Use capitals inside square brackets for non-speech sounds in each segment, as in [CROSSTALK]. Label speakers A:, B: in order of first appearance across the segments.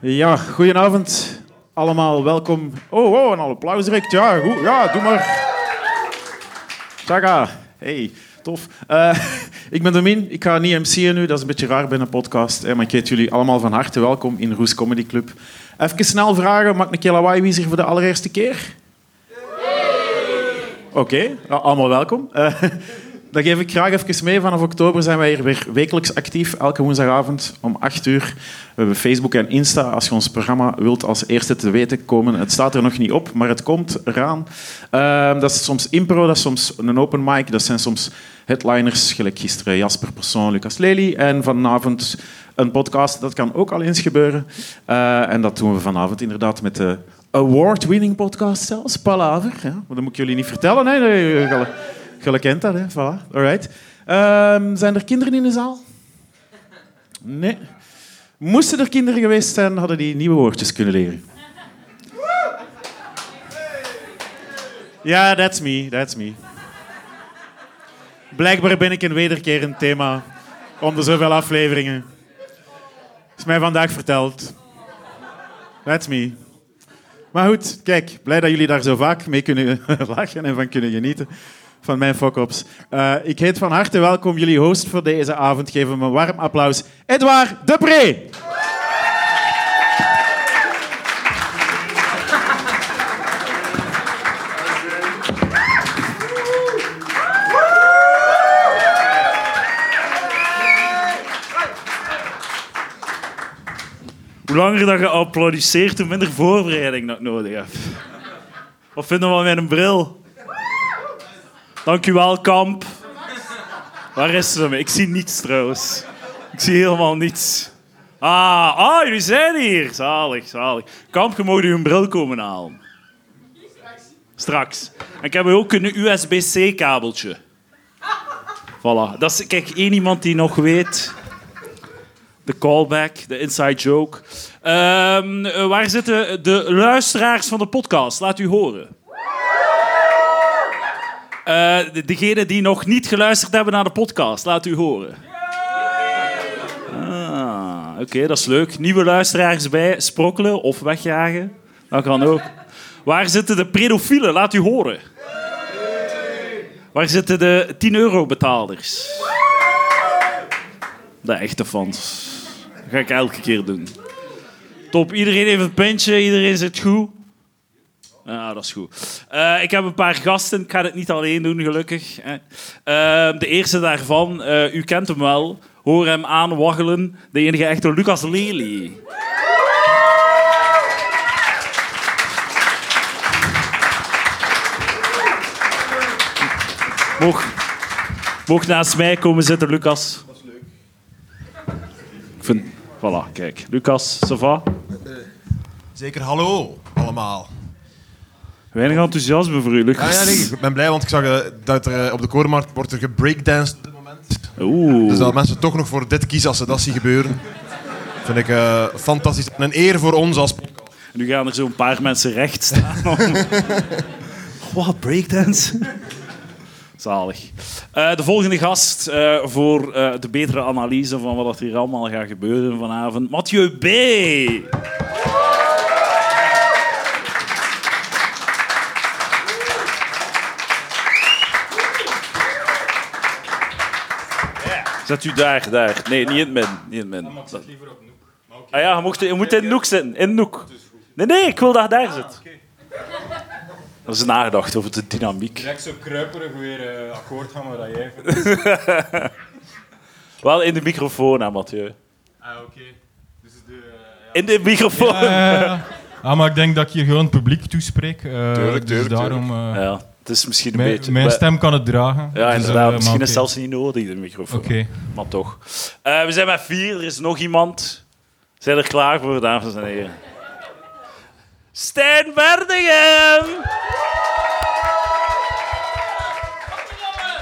A: Ja, goedenavond allemaal, welkom. Oh, oh, een applaus direct. Ja, goed, ja, doe maar. Saga, hey, tof. Eh, [LAUGHS] ik ben Domin, ik ga niet MC'en nu, dat is een beetje raar bij een podcast. Hè, maar ik heet jullie allemaal van harte welkom in Roes Comedy Club. Even snel vragen, maak een keer lawaai, wie is hier voor de allereerste keer? Oké, nou, allemaal welkom. Eh, [LAUGHS] dan geef ik graag even mee. Vanaf oktober zijn wij hier weer wekelijks actief. Elke woensdagavond om 8 uur. We hebben Facebook en Insta. Als je ons programma wilt als eerste te weten komen. Het staat er nog niet op, maar het komt eraan. Ehm, dat is soms impro, dat is soms een open mic. Dat zijn soms headliners, gelijk gisteren Jasper Persoon, Lucas Lely. En vanavond een podcast. Dat kan ook al eens gebeuren. Eh, en dat doen we vanavond inderdaad met de award-winning podcast zelfs. Palaver. Hè? Maar dat moet ik jullie niet vertellen. Hè? Nee, je- je- Jullie kent dat, hè? Voilà. Alright. Ehm, zijn er kinderen in de zaal? Nee. Moesten er kinderen geweest zijn, hadden die nieuwe woordjes kunnen leren. Ja, that's me, that's me. Blijkbaar ben ik een wederkerend thema. Om de zoveel afleveringen. Is mij vandaag verteld. That's me. Maar goed, kijk, blij dat jullie daar zo vaak mee kunnen [LAUGHS] lachen en van kunnen genieten. Van mijn fuck-ups. Eh, ik heet van harte welkom jullie host voor deze avond. Geef hem een warm applaus. Edouard Depree.
B: Hoe langer dat je applaudisseert, hoe minder voorbereiding dat ik nodig heb. Wat vinden we van mijn bril? Dankjewel, Kamp. Waar is ze mee? Ik zie niets trouwens. Ik zie helemaal niets. Ah, ah, jullie zijn hier. Zalig, zalig. Kamp, je mag je bril komen halen. Straks. En ik heb hier ook een USB-C-kabeltje. Voilà. Dat is, kijk, één iemand die nog weet. De callback, de inside joke. Ehm, eh, waar zitten de luisteraars van de podcast? Laat u horen. Eh, de- degene die nog niet geluisterd hebben naar de podcast, laat u horen. Ah, Oké, dat is leuk. Nieuwe luisteraars bij, sprokkelen of wegjagen. Dat kan ook. Waar zitten de pedofielen? Laat u horen. Waar zitten de 10-euro-betalers? De echte fans. Dat ga ik elke keer doen. Top, iedereen heeft een pintje, iedereen zit goed. Ja, dat is goed. Eh, ik heb een paar gasten, ik ga het niet alleen doen, gelukkig. hè. Eh, de eerste daarvan, eh, u kent hem wel. Hoor hem aan waggelen. De enige echte Lucas Lely. Mocht, mocht naast mij komen zitten, Lucas. Ik vind... Voilà, kijk. Lucas, ça va?
C: Zeker hallo allemaal.
B: Weinig enthousiasme voor u,
C: Ja,
B: Lucas.
C: ja, nee, ik ben blij, want ik zag eh, dat er eh, op de korenmarkt wordt er gebreakdanced op dit moment.
B: Oeh.
C: Dus dat mensen toch nog voor dit kiezen als ze dat zien gebeuren. Vind ik eh, fantastisch. En een eer voor ons als...
B: Nu gaan er zo'n paar mensen recht staan. om- Wat, breakdance? Zalig. Eh, de volgende gast eh, voor eh, de betere analyse van wat er hier allemaal gaat gebeuren vanavond. Mathieu B. Zet u daar, daar. Nee, niet in het midden. Niet in het midden. Ah ja, je, mocht, je moet in de noek zitten. In de noek. Nee, nee, ik wil dat je daar zit. Dat is nagedacht over de dynamiek.
D: Direct zo kruiperig weer eh, akkoord gaan met dat jij
B: Wel in de microfoon, hè, Mathieu.
D: Ah, oké. Dus de...
B: In de microfoon. Ja,
D: Ah, maar ik denk dat ik hier gewoon het publiek toespreek. eh,
C: Tuurlijk,
D: dus
C: tuurlijk,
D: daarom... eh,
B: het is misschien een
D: mijn,
B: beetje...
D: mijn
B: maar-
D: stem kan het dragen.
B: Ja,
D: Dus, eh,
B: inderdaad.
D: maar
B: misschien is
D: oké.
B: het zelfs niet nodig, de microfoon.
D: Oké.
B: Maar toch. Eh, we zijn met vier, er is nog iemand. Zijn er klaar voor, dames en heren? Stijn Verdegem!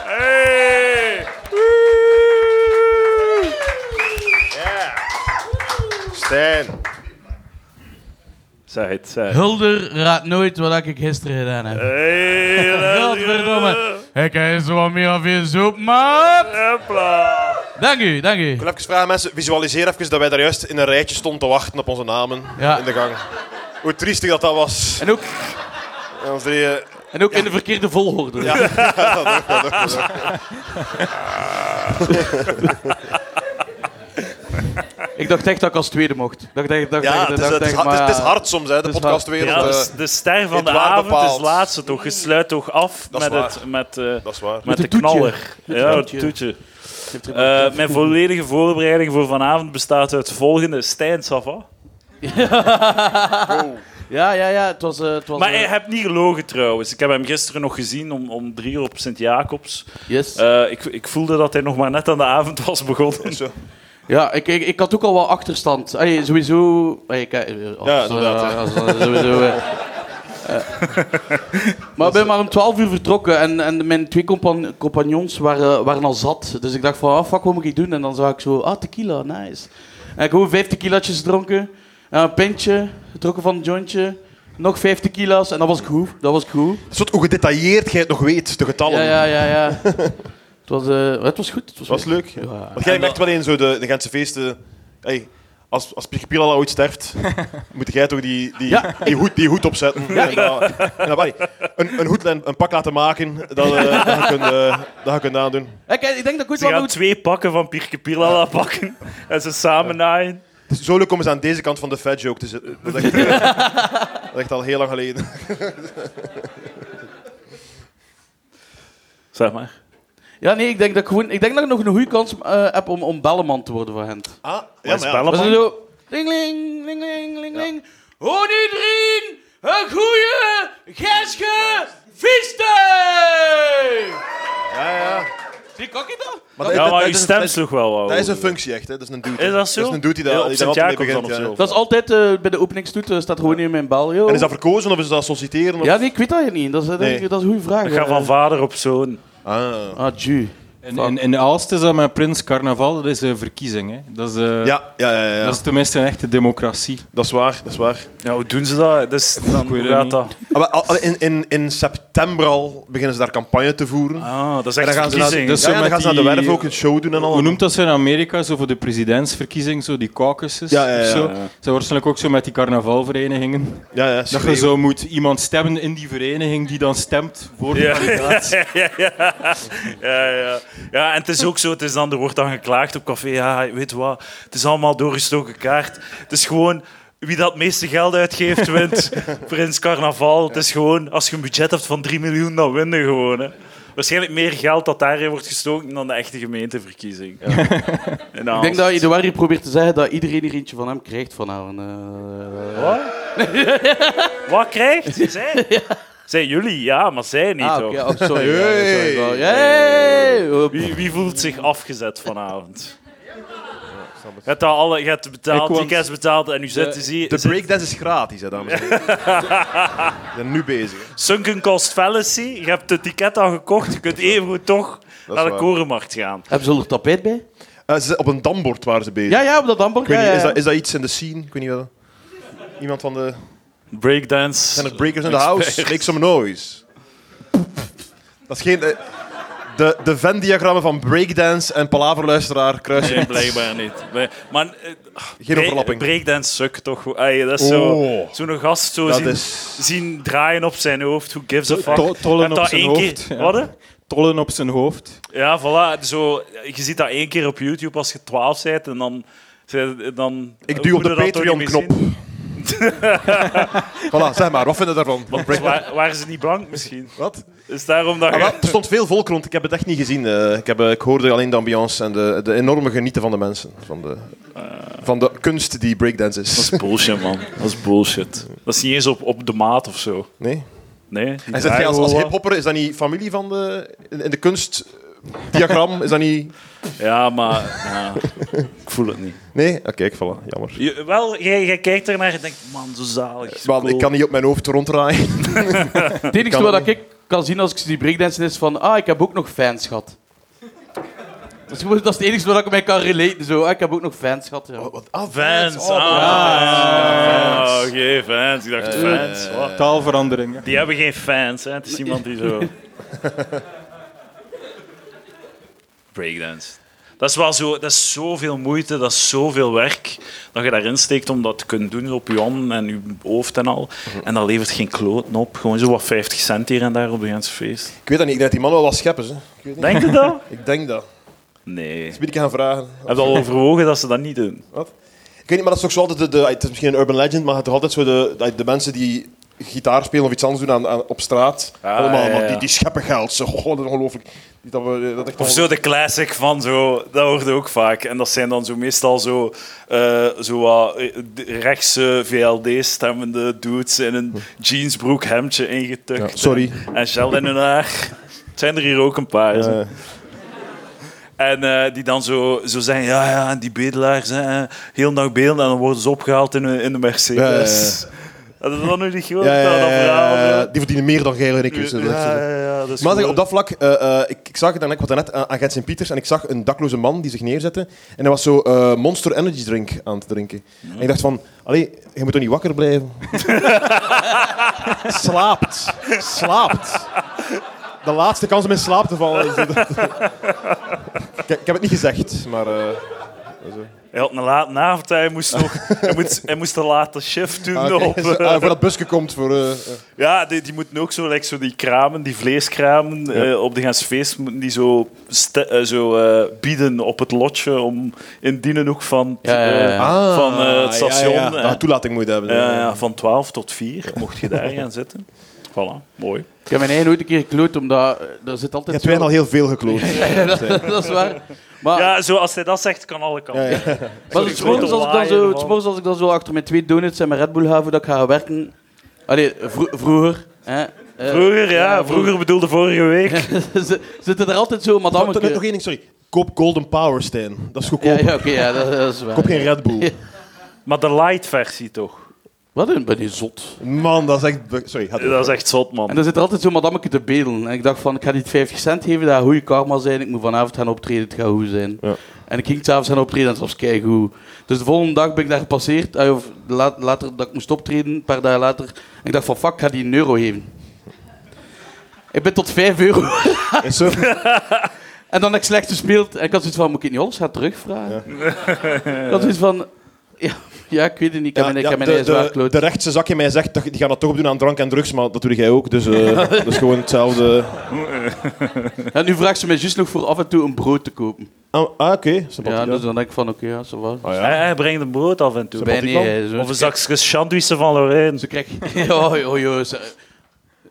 B: Hey!
E: Stijn.
B: Zeg het, zeg het.
F: Hulder raadt nooit wat ik gisteren gedaan heb.
B: Hey,
F: Godverdomme. Ik heb zo wat meer of je zoep, maat.
B: Hopla.
F: Dat Dank u, dank u.
C: Ik wil even vragen, mensen, visualiseer even dat wij daar juist in een rijtje stonden te wachten op onze namen
F: Ja.
C: in de gang. Hoe triestig dat dat was.
F: En ook,
C: En ons drieën. [LAUGHS]
F: en ook in de verkeerde volgorde. Ik dacht echt dat ik als tweede mocht. Dacht, echt- dacht,
C: Ja,
F: echt-
C: het is,
F: dacht
C: het, is,
F: echt,
C: hard- het is-
F: maar-
C: het is hard soms, hè, de
F: het is
C: podcastwereld.
B: Ja, dus
C: eh,
B: de, de ster van de
C: waar
B: avond
C: bepaald.
B: is laatste toch. Je sluit toch af
C: Dat is
B: met, het,
C: waar.
B: met, eh,
C: dat is waar.
B: met de
F: het toetje.
B: knaller. Ja, het
F: toetje.
B: toetje.
F: heeft er
B: Eh, mijn volledige voorbereiding voor vanavond bestaat uit het volgende. Stijn, Sava.
F: Ja, ja, ja. Het was... eh, het was
B: Maar
F: eh,
B: hij hebt niet gelogen trouwens. Ik heb hem gisteren nog gezien om, om drie uur op Sint-Jacobs.
F: yes.
B: Eh, ik, ik voelde dat hij nog maar net aan de avond was begonnen.
C: Zo.
F: Ja, ik, ik, ik had ook al wel achterstand. Allee, sowieso... Allee, kijk, eh, als-
C: Ja, inderdaad,
F: eh,
C: hè.
F: als- eh, sowieso,
C: [LAUGHS]
F: eh. Eh. Maar ik ben maar om 12 uur vertrokken en, en mijn twee compan- compagnons waren, waren al zat. Dus ik dacht van, ah, fuck, wat moet ik doen? En dan zag ik zo, ah, tequila, nice. En ik gewoon vijf tequilaatjes gedronken, en een pintje, getrokken van een jointje, nog vijf tequila's en dat was goed, dat was goed.
C: Het is wat hoe gedetailleerd jij het nog weet, de getallen.
F: Ja, ja, ja, ja. het,
C: [LAUGHS]
F: was, eh, het was goed. Het was,
C: Dat was leuk.
F: Ja.
C: Want jij merkt wel in zo de, de Gentse feesten... Hey, als, als Pietje Pilala ooit
F: [LAUGHS]
C: sterft, moet jij toch die, die,
F: Ja.
C: die, hoed, die hoed opzetten. Ja, en dan, en dan- allee, een, een hoed en een pak laten maken, dat, eh, dat, je kunt, eh, dat je kunt aandoen.
F: Eh, kijk, ik denk dat ik ooit
B: Ze
F: wel
B: gaan
F: moet...
B: twee pakken van Pirke Pilala pakken en ze samen naaien.
C: Het is Dus zo leuk om eens aan deze kant van de fat joke te zitten. Dat is echt, eh, dat is echt al heel lang geleden.
B: Zeg maar.
F: Ja, nee, ik denk dat ik, gewoon, ik, denk dat ik nog een goede kans eh, heb om, om belleman te worden voor hen.
C: Ah, ja,
B: Wat is
C: maar ja.
F: Dat is
B: Belleman?
F: zo... Dingling, dingling, dingling. Hoor iedereen een goede Geske feestdag!
C: Ja, ja.
F: Zie kan ik dat?
C: Maar dat,
B: Ja,
C: dat-
B: maar
C: dat
B: je
C: is-
B: stem
C: dat is-
B: sloeg wel wat.
C: Dat is een functie echt, hè. dat is een dude.
B: Is dat zo?
C: Dat is een dude die daar
B: Ja, op
C: die daar
B: Sint
C: altijd mee
B: Jacobs
C: begint.
B: dan of zo.
C: ja.
F: Dat is altijd eh, bij de openingstoet, eh, staat gewoon hier in mijn bal, joh.
C: En is dat verkozen of is dat solliciteren? Of...
F: Ja, nee, ik weet dat niet. Dat is, eh, dat is-
C: Nee.
F: dat is een goede vraag.
B: Ik ga
F: eh.
B: van vader op zoon.
C: Ah.
F: Ah, ju.
D: In, in, in Aalst is dat met Prins Carnaval, dat is een verkiezing. Hè. Dat, is, eh,
C: Ja, ja, ja, ja.
D: dat is tenminste een echte democratie.
C: dat is waar. Dat is waar.
B: Ja, hoe doen ze dat? Dus, dan, hoe
D: weet
B: gaat
D: het
B: dat?
C: Ah, maar al- al- In, in, in september al beginnen ze daar campagne te voeren.
B: Ah, dat is
C: en
B: echt
C: dan gaan ze, naar,
B: verkiezing.
C: ja,
D: zo
C: ja, dan
D: met
C: gaan ze naar de
D: die-
C: werf ook een show doen en al.
D: Hoe noemt dat ze in Amerika, zo voor de presidentsverkiezing, zo die caucuses
C: Ja, ja, ja,
D: of zo?
C: ja.
D: Zijn waarschijnlijk ook zo met die carnavalverenigingen.
C: Ja, ja,
D: Dat je zo moet iemand stemmen in die vereniging die dan stemt voor de
B: Ja.
D: kandidaat.
B: [LAUGHS] ja, ja. Ja, ja. ja, en het is ook zo, het is dan, er wordt dan geklaagd op café, ja, je weet wat, het is allemaal doorgestoken kaart. Het is gewoon, wie dat het meeste geld uitgeeft,
C: [LAUGHS]
B: wint. Prins Carnaval, het is gewoon, als je een budget hebt van 3 miljoen, dan winnen gewoon. Hè. Waarschijnlijk meer geld dat daarin wordt gestoken dan de echte gemeenteverkiezing. Ja. En dan-
F: Ik denk dat Eduardo probeert te zeggen dat iedereen er eentje van hem krijgt vanavond. eh.
B: Wat? [LAUGHS] Wat krijgt
F: [LAUGHS]
B: zij? Zij jullie, ja, maar zij niet
F: ah,
B: ook.
F: oké, oh, sorry. ja,
C: Hey.
F: sorry, ja. Hey.
B: Wie, wie voelt zich afgezet vanavond? Je hebt, dat alle, je hebt
D: Ik
B: betaald,
D: want-
B: tickets betaald en u zit te zien.
C: De
B: zit-
C: breakdance is gratis, hè, dames en heren. We zijn nu bezig. hè.
B: Sunken cost fallacy. Je hebt het ticket al gekocht. Je kunt evengoed toch naar de
C: waar.
B: korenmarkt gaan.
F: Hebben ze er tapijt bij?
C: Eh, ze, op een dambord waren ze bezig.
F: Ja, ja, op dat dambord.
C: Ik weet niet,
F: Ja, ja.
C: Is, dat, is dat iets in de scene? Ik weet niet wat. Iemand van de...
B: Breakdance.
C: Zijn er breakers in the house? Make some noise. Dat is geen... eh, De, de Venn-diagrammen van breakdance en palaverluisteraar kruisen.
B: Nee, blijkbaar niet. Nee, Maar eh,
C: Geen
B: bre-
C: overlapping.
B: breakdance sukt toch. Ay, dat is zo-
C: Oh.
B: zo'n gast zo
C: Dat
B: zien,
C: is-
B: zien draaien op zijn hoofd. Who gives a fuck?
D: to- tollen
B: Heb
D: op
B: dat
D: zijn
B: één keer-
D: hoofd, ja.
B: Wat? hè?
D: Tollen op zijn hoofd.
B: Ja, voilà. Zo, je ziet dat één keer op YouTube als je 12 bent en dan. dan
C: Ik duw op de
B: moet je dat toch niet meer
C: Patreon-knop.
B: zien?
C: Voilà, zeg maar, wat vinden we daarvan?
B: Want wa- waren ze niet blank misschien?
C: Wat?
B: Is daarom dat
C: Ah, wel,
B: je...
C: er stond veel volk rond, ik heb het echt niet gezien. eh, ik, heb, eh, ik hoorde alleen de ambiance en de, de enorme genieten van de mensen. Van de, van de kunst die breakdance is.
B: is bullshit, man. Dat is bullshit. Dat is niet eens op, op de maat of zo.
C: Nee?
B: Nee. die
C: En zit jij als, als
B: draaien
C: hiphopper, is dat niet familie van de... In, in de kunstdiagram, is dat niet...
B: gewoon. Ja, maar... ja, ik voel het niet.
C: Nee? Ah, kijk, voilà, jammer.
B: Je- wel, jij, jij kijkt ernaar en denkt... Man, zo zalig. zo
C: Man,
B: cool.
C: ik kan niet op mijn hoofd ronddraaien.
F: Het enige wat ik kan zien als ik die breakdance is van, ah, ik heb ook nog fans gehad. Dat is, gewoon- dat is het enige wat ik mij kan relaten. Zo, ah, ik heb ook nog fans gehad. Ja.
C: Ah,
B: Fans.
C: oh,
B: Ah, oké, fans. Ik dacht fans. wat?
D: Taalverandering.
B: Die hebben geen fans, hè. Het is [LAUGHS] iemand die zo... Breakdance. Dat Dat is wel zo, dat is zoveel moeite, dat is zoveel werk dat je daarin steekt om dat te kunnen doen op je handen en je hoofd en al. En dat levert geen kloten op. Gewoon zo wat 50 cent hier en daar op een Gentse feest.
C: Ik weet dat niet. Ik denk dat die mannen wel wat scheppen. Hè. Ik, weet niet.
B: Denk je [LAUGHS] dat?
C: ik denk dat.
B: Nee. Heb
C: Dat moet ik gaan vragen.
B: je al overwogen dat ze dat niet doen?
C: Ik weet niet, maar dat is toch zo altijd... De, de- het is misschien een urban legend, maar het is toch altijd zo de, de, de mensen die gitaar spelen of iets anders doen aan, aan- op straat.
B: Ah,
C: allemaal,
B: ja,
C: maar
B: ja.
C: die, die scheppen geld. Zo, [LAUGHS] goh, dat is ongelooflijk. Niet Dat we, dat echt
B: Of
C: wel-
B: zo de classic van zo, dat hoorde ook vaak. En dat zijn dan zo meestal zo, eh, zo wat eh, d- rechtse VLD-stemmende dudes in een jeansbroek hemdje ingetukt.
C: Ja, sorry.
B: En gel in hun haar. Het zijn er hier ook een paar. zo.
C: Eh,
B: En eh, die dan zo, zo zeggen, ja, ja, en die bedelaars, hè, heel nacht beelden. En dan worden ze opgehaald in, een- in de Mercedes. Dat is dan nu niet groot,
C: ja, ja,
B: dat
C: ja,
B: verhaal.
C: ja, ja.
B: hè.
C: die verdienen meer dan geel en ik. dus, eh, dat is-
B: Ja, ja, ja, dat is
C: Maar zeg,
B: gewoon-
C: op dat vlak, eh, eh, ik, ik zag het daarnet, ik was daarnet aan, aan Gent Sint Pieters en ik zag een dakloze man die zich neerzette. En hij was zo eh, Monster Energy Drink aan het drinken. En ik dacht van, allee, je moet toch niet wakker blijven? [LAUGHS] slaapt. Slaapt. De laatste kans om in slaap te vallen. is- ik, ik heb het niet gezegd, maar... eh,
B: [LAUGHS] Hij had een late avond, hij moest, nog,
C: [LAUGHS]
B: hij moest, hij moest een late shift doen.
C: ah, oké. [LAUGHS]
B: op,
C: Zo, ah,
B: eh,
C: voor dat busje komt, voor... eh, eh.
B: Ja, die, die moeten ook zo, like, zo die kramen, die vleeskramen eh, op de ganse feest, moeten die zo, ste- eh, zo eh, bieden op het lotje om in dienen ook van,
F: Ja, ja, ja.
B: eh,
C: Ah,
B: van eh, het station.
C: Ja, ja.
B: eh,
C: Ah, toelating moet je hebben.
B: ja, ja, van 12 tot 4 mocht je daar gaan zitten. Voilà, mooi.
F: Ik heb mijn eigen nooit een keer gekloot, omdat eh, daar zit
C: Je
F: altijd...
C: hebt twee al
F: zo-
C: heel veel [LAUGHS] gekloot.
F: [LAUGHS] dat is waar. Maar,
B: Ja, zo, als hij dat zegt, kan alle kanten.
C: Ja, ja.
F: maar
B: ik
F: het morgens
B: weet
F: als,
B: al
F: ik dan
B: waaien
F: zo-
B: van-
F: het morgens als ik dan zo achter mijn twee donuts en mijn Red Bull haven dat ik ga gaan werken... Allee, vro- vroeger. Hè, eh,
B: Vroeger, ja,
F: [LAUGHS]
B: vroeger bedoelde vorige week.
F: Z- Zitten er altijd zo
C: Oh, nog
F: madammetjes...
C: nog één ding, sorry. Koop Golden Power, Stijn. Dat is goedkoop.
F: Ja, ja oké, ja, dat, dat is waar.
C: Koop geen
B: [LAUGHS]
C: Red Bull.
B: Maar de light versie toch?
F: Wat een, ben je zot.
C: Man, dat is echt... be- Sorry, had
B: Dat is echt zot,
F: En
B: man.
F: dan zit er altijd zo'n madammetje te bedelen. En ik dacht van, ik ga niet 50 cent geven, dat gaat goede karma zijn. Ik moet vanavond gaan optreden, het gaat goed zijn.
C: Ja.
F: En ik ging s'avonds gaan optreden en het was keigoed. Dus de volgende dag ben ik daar gepasseerd. eh, Of la- later dat ik moest optreden, een paar dagen later. En ik dacht van, fuck, ik ga die een euro geven. Ik ben tot 5 euro. [LAUGHS]
C: Is zo?
F: En dan heb ik slecht gespeeld. En ik had zoiets van, moet ik het niet alles gaan terugvragen? [LAUGHS] ik had zoiets van... Ja, ja, ik weet het niet. Ik heb
C: Ja,
F: mijn, ik
C: ja,
F: heb mijn
C: de,
F: eigen zwaar
C: de,
F: kloot.
C: de rechtse zak in mij zegt, dat- die gaan dat toch opdoen aan drank en drugs, maar dat doe jij ook. Dus eh,
B: [LAUGHS]
C: dat is gewoon hetzelfde.
F: Ja, nu vraagt ze mij juist nog voor af en toe een brood te kopen.
C: Ah, ah, oké. sympathiek,
F: Ja,
C: Ja,
F: dus dan denk ik van, oké, ja, zo wat.
C: Ah, ja.
B: Hij, hij brengt een brood af en toe.
F: Nee, nee, eh, zo-
B: Of een zakje sandwiches van Lorraine.
F: Ze [LAUGHS] krijg... Ja, joh, joh. ze-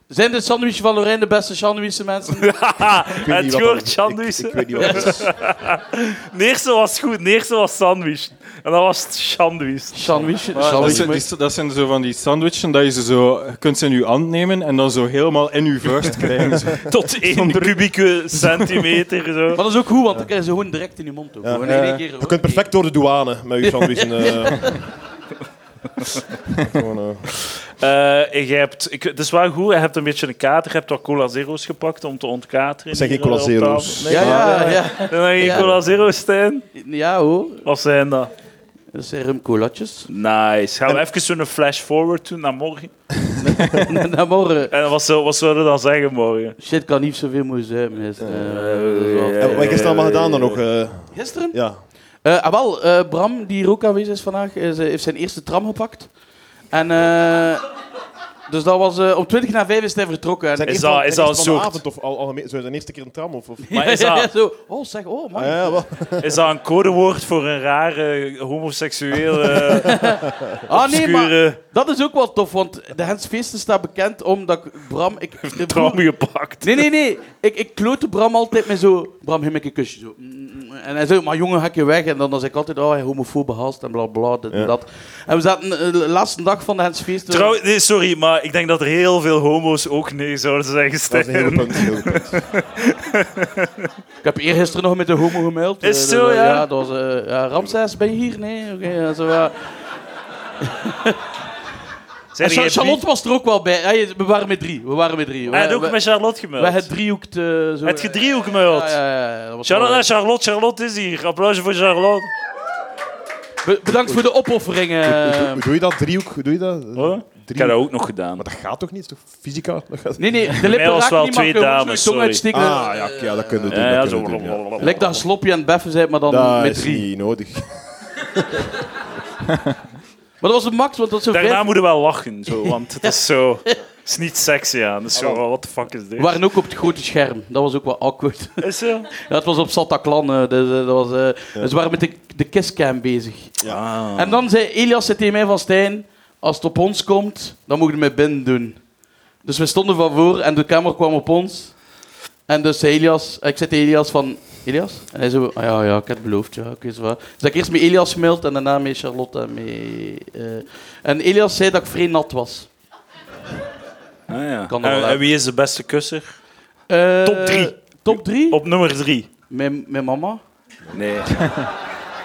F: Zijn de sandwich van Lorraine de beste sandwichen, mensen?
C: Ik weet
B: Het
C: niet wat
B: woord
C: dat-
B: sandwich.
C: Ik, ik weet niet wat dat is.
B: De eerste was goed, de eerste was sandwich. En dat was het
C: [LAUGHS]
B: sandwich.
F: Sandwich?
D: Dat,
F: sandwich.
D: zijn, die- dat zijn zo van die sandwichen dat je ze zo je kunt ze in je hand nemen en dan zo helemaal in je vuist krijgen. Zo.
B: Tot één kubieke centimeter. Zo.
F: Maar dat is ook goed, want dan krijg je ze gewoon direct in je mond. Ook. Gewoon in één keer,
C: Je kunt perfect door de douane met je sandwich. en, eh,
B: [LAUGHS]
C: gewoon, eh,
B: Eh, je hebt, ik, het is wel goed, je hebt een beetje een kater. Je hebt wat Cola Zero's gepakt om te ontkateren.
C: Het zijn geen
B: Hier
C: Cola
B: op tafel.
C: Zero's.
B: Nee,
F: Ja, ja,
B: Zijn
F: ja.
B: dat geen
F: Ja.
B: Cola Zero's, Stijn?
F: Ja, hoor.
B: Of zijn dat?
F: Dat zijn rumcolatjes. [LAUGHS]
B: Nice. Gaan we even zo'n flash forward doen naar morgen?
F: Na morgen.
B: En wat, zou- wat zouden we dan zeggen morgen?
F: eh, Shit kan niet zoveel moeien zijn, mensen. Eh, dat is wel-
C: en wat heb je allemaal gedaan dan nog? eh,
F: Gisteren?
C: ja.
F: Eh, ah, wel, eh, Bram, die hier ook aanwezig is vandaag, eh, ze heeft zijn eerste tram gepakt. En, eh, dus dat was, eh, om 20 na 5 is hij vertrokken. En-
C: Zijn
B: Is
C: eerste-
B: dat- is
C: zijn
B: dat
C: eerste
B: een
C: van de
B: soort-
C: avond of al, algemeen? Zo zijn eerste keer een tram? Of, of...
B: Maar
F: [LAUGHS]
B: is
F: Ja, ja,
B: dat,
F: zo, oh, zeg, oh, man.
C: Ah, ja, wel.
B: is dat een codewoord voor een rare homoseksuele, eh,
F: ah, nee, maar
B: obscure
F: dat is ook wel tof, want de Hens Feesten staat bekend omdat ik- Bram...
B: [LAUGHS]
F: Ik, de
B: tram gepakt?
F: Nee, nee, nee. Ik, ik klootte Bram altijd met zo... Bram, geef me een kusje. Zo. Mm, mm, mm. En hij zei, maar jongen, ga ik je weg. En dan dan zei ik altijd, oh, hij homofobe hast en bla, bla, dit en
C: Ja.
F: dat. En we zaten eh, de laatste dag van de Hens Feesten...
B: Trouw, nee, sorry, maar ik denk dat er heel veel homo's ook nee zouden zeggen.
C: Dat is een
B: Stijn.
C: heel goed punt. een heel goed punt.
F: Ik heb eergisteren nog met de homo gemaild.
B: Is
F: Eh,
B: het
F: dat-
B: zo,
F: dat-
B: ja?
F: Ja, dat was... eh, ja, Ramses, ben je hier? Nee? Oké, ja, zo, eh.
B: Zijn
F: En
B: jij bi-
F: Charlotte was er ook wel bij. Ja, je- we waren met drie. We waren met drie. We,
B: Hij had ook
F: we,
B: met Charlotte gemeld.
F: we het driehoek te... Zo, eh,
B: Het gedriehoek
F: Ja,
B: gemeld.
F: ja, ja, dat was wel-
B: Charlotte, Charlotte, Charlotte is hier. Applausje voor Charlotte.
F: Be- bedankt voor de eh. opofferingen.
B: Ehm.
C: Hoe doe je dat? Driehoek? Hoe doe je dat?
B: Hoor? Ik
C: drie.
B: heb dat ook nog gedaan.
C: Maar dat gaat toch niet? Dat is toch fysica? Dat gaat...
F: Nee, nee, de lippen
B: was het
F: raken
B: wel
F: niet, maar
B: twee
F: je moet
B: dames,
F: nog je tong
B: sorry.
F: uitsteken.
C: Ah, ja, oké, ja, dat kunnen we doen.
B: Ja, ja,
C: dat kunnen we
B: zo.
C: doen, ja.
F: Lijkt dat sloppy aan het beffen zijn, maar dan
C: Dat
F: met
C: is
F: drie.
C: niet nodig.
F: Maar dat was de max, want dat is zo
B: Daarna
F: vijf.
B: moeten we wel lachen, zo, want het is zo... Het is niet sexy aan. Het is zo, wat de fuck is dit?
F: We waren ook op het grote scherm. Dat was ook wel awkward.
B: Is zo?
F: Ja, het was op Sataclan. eh, Dus, eh, dat was, eh, Ze waren met de, de kisscam bezig.
B: Ah.
F: En dan zei Elias zei tegen mij van Stijn, als het op ons komt, dan mogen we met binnen doen. Dus we stonden van voor en de camera kwam op ons. En dus zei Elias, ik zei tegen Elias van, Elias? En hij zei, ah, ja, ja, ik heb het beloofd, ja, oké, zo waar. Dus dat ik eerst met Elias gemaild en daarna met Charlotte en met... eh, en Elias zei dat ik vrij nat was.
B: Ah, ja.
F: Kan dat wel
B: en, en
F: uit.
B: wie is de beste kusser?
F: Eh,
B: Top drie.
F: Top drie?
B: Op nummer drie.
F: Mijn, mijn mama.
B: Nee.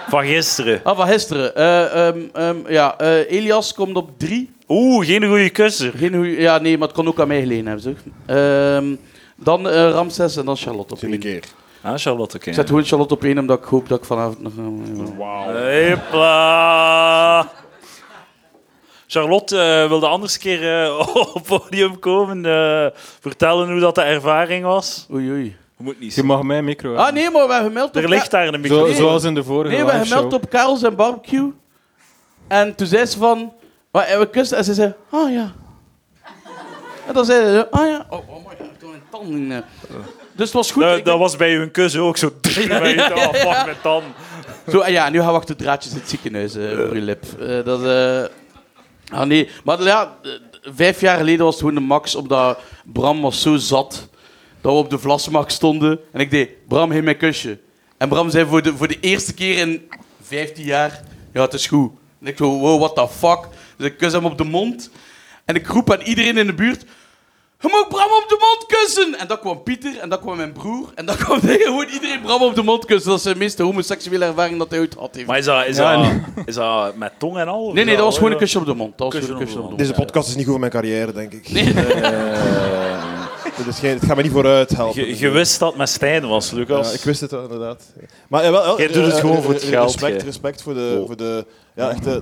B: Van gisteren.
F: Ah, van gisteren. Eh, ehm, ehm, ja, eh, Elias komt op drie.
B: Oeh, geen goede kusser.
F: Geen goeie- ja, nee, maar het kon ook aan mij gelegen hebben. Zeg. Ehm, dan eh, Ramses en dan Charlotte op één.
C: Een
F: Ik
C: keer.
B: Ah, Charlotte, oké.
F: zet gewoon Charlotte op één, omdat ik hoop dat ik vanavond nog...
B: Hopla. Charlotte eh, wilde anders een keer eh, [LAUGHS] op het podium komen. eh, vertellen hoe dat de ervaring was.
F: Oei, oei.
B: Je moet niet
D: Je
B: zien.
D: mag mijn micro
F: Ah,
D: hebben.
F: nee, maar we hebben gemeld op...
B: Er ligt daar een
D: Zo,
B: microfoon.
D: zoals in de vorige
F: Nee, we hebben
D: live
F: gemeld op Karels en Barbecue. En toen zei ze van... "Wa- En we kusten en ze zei... Ah, ja. En dan zei ze... Ah, ja. Oh, oh my god, ik heb een tand in, eh. Dus het was goed.
B: Dat,
F: Ik-
B: dat was bij hun kus ook zo. Bij je- ah, fuck met dan.
F: Zo, ah ja, nu gaan we achter draadjes in het ziekenhuis eh, voor je lip. Eh, dat, eh, ah nee, maar ja, eh, vijf jaar geleden was het gewoon de max, omdat Bram was zo zat dat we op de Vlasmarkt stonden. En ik deed, Bram, geef mij een kusje. En Bram zei voor de, voor de eerste keer in 15 jaar, ja, het is goed. En ik zo, wow, what the fuck. Dus ik kus hem op de mond. En ik roep aan iedereen in de buurt, je moet Bram op de mond kussen! En dan kwam Pieter, en dan kwam mijn broer, en dan kwam [LAUGHS] gewoon iedereen Bram op de mond kussen. Dat is zijn meeste homoseksuele ervaring dat hij ooit had. Heeft.
B: Maar is dat, is, dat, is dat met tong en al? Of
F: Nee, nee, dat was gewoon een
B: eh,
F: kusje op de mond. Dat was
B: Kusje
F: gewoon een kusje op de mond.
C: Deze podcast is niet goed voor mijn carrière, denk ik. Eh, dit is geen, het gaat me niet vooruit helpen.
B: Je, je wist dat het met Stijn was, Lucas.
C: Ja, ik wist het wel, inderdaad. Maar ja, wel, wel,
B: Jij doet het
C: eh,
B: gewoon
C: eh,
B: voor het
C: eh,
B: geld,
C: Respect,
B: jij.
C: respect voor de, voor de ja, echt, eh,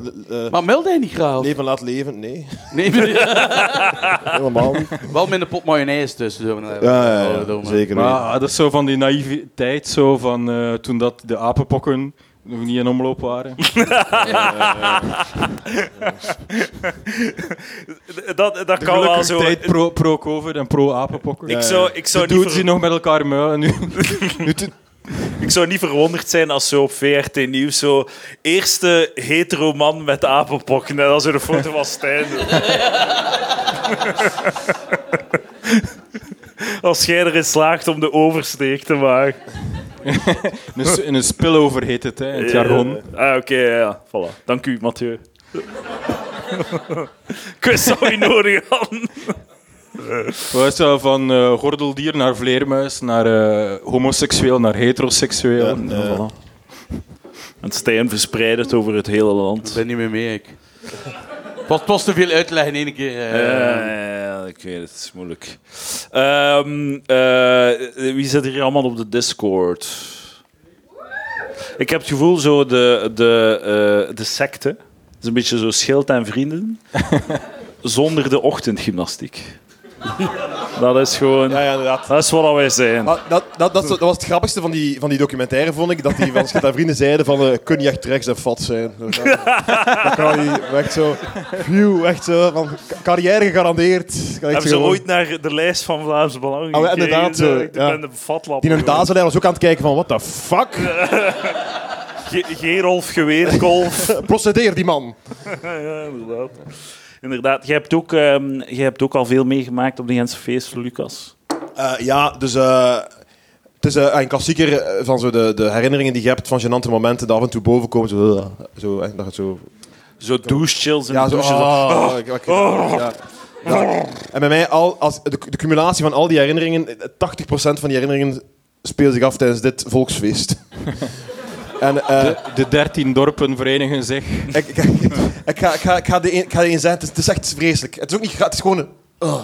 C: eh,
F: Maar meldde hij niet graag? Nee,
C: leven laat
B: [LAUGHS]
C: leven. Nee,
F: maar-
C: helemaal niet.
F: [LAUGHS] wel met een pot mayonaise tussen. zo.
C: Ja, ja, ja,
F: Oh, domme.
C: zeker
D: Maar
C: weten.
D: ah, dat is zo van die naïviteit, zo van eh, toen dat de apenpokken nog niet in omloop waren.
B: Dat, dat
D: De
B: kan wel
D: gelukkige
B: zo.
D: tijd pro- pro-covid en pro-apenpokken.
B: Ik zou, ik, zou
D: De
B: niet
D: dudes
B: ver-
D: die nog met elkaar muilen nu. nu te-
B: ik zou niet verwonderd zijn als zo op VRT Nieuws zo eerste hetero man met apenpokken en dan zo de foto van Stijn. [LAUGHS] als jij erin slaagt om de oversteek te maken.
D: in een s- in een spillover heet het, hè, in het jargon.
B: Eh, ah, oké, ja, ja. Voilà. Dank u, Mathieu. [LAUGHS] ik wist dat we je nodig hadden.
D: Wat is dat, van eh, gordeldier naar vleermuis, naar eh, homoseksueel, naar heteroseksueel.
C: Ja,
D: Ja,
C: eh.
D: voilà.
B: En Stijn verspreidt het over het hele land.
F: Ik ben niet meer mee, ik. Het was, het was te veel uitleggen in één keer. eh.
B: Ja, ja, ja, ik weet het, het is moeilijk. Ehm, eh, wie zit hier allemaal op de Discord? Ik heb het gevoel, zo de, de, eh, de secte. Het is een beetje zo schild en
C: [LAUGHS]
B: vrienden. Zonder de ochtendgymnastiek. dat is gewoon...
C: Ja, ja, inderdaad.
B: Dat is wat wij zijn.
C: Maar dat, dat, dat, dat was het grappigste van die, van die documentaire, vond ik. Dat die van Schat en Vrienden zeiden van, eh kun je echt rechts en fat zijn. Zo, ja. Dan kan je echt zo, phew, echt zo, van, "Ca- carrière gegarandeerd. Kan ik
B: Hebben ze
C: gewoon-
B: ooit naar de lijst van Vlaams Belang
C: Ah, ja,
B: gekeken?
C: inderdaad, zo,
B: Ik
C: ja.
B: ben de fatlap.
C: Die een
B: geworden.
C: Dazelijn was ook aan het kijken van, what the fuck?
B: Ge- Gerolf, Geweerkolf.
C: Procedeer die man.
B: Ja, inderdaad. Inderdaad. Jij hebt, ook, ehm, jij hebt ook al veel meegemaakt op de Gentse feesten, Lucas.
C: Eh, ja, dus eh, het is eh, een klassieker eh, van zo de, de herinneringen die je hebt van genante momenten die af en toe boven komen. Zo, eh, zo, eh, dat het zo
B: Zo douchechills en
C: Ja,
B: ja,
C: zo.
B: douches.
C: ah, ik- ik- ja. Ja. En bij mij, al, als, de, de cumulatie van al die herinneringen, 80% van die herinneringen speelt zich af tijdens dit volksfeest. [LAUGHS] en eh,
D: De- De dertien dorpen verenigen zich. Eh,
C: ik, ik, ik, ik ga, ik, ga, ik, ga de een, ik ga de een zeggen, het is, het is echt vreselijk. Het is ook niet gra- het is gewoon... een- ah.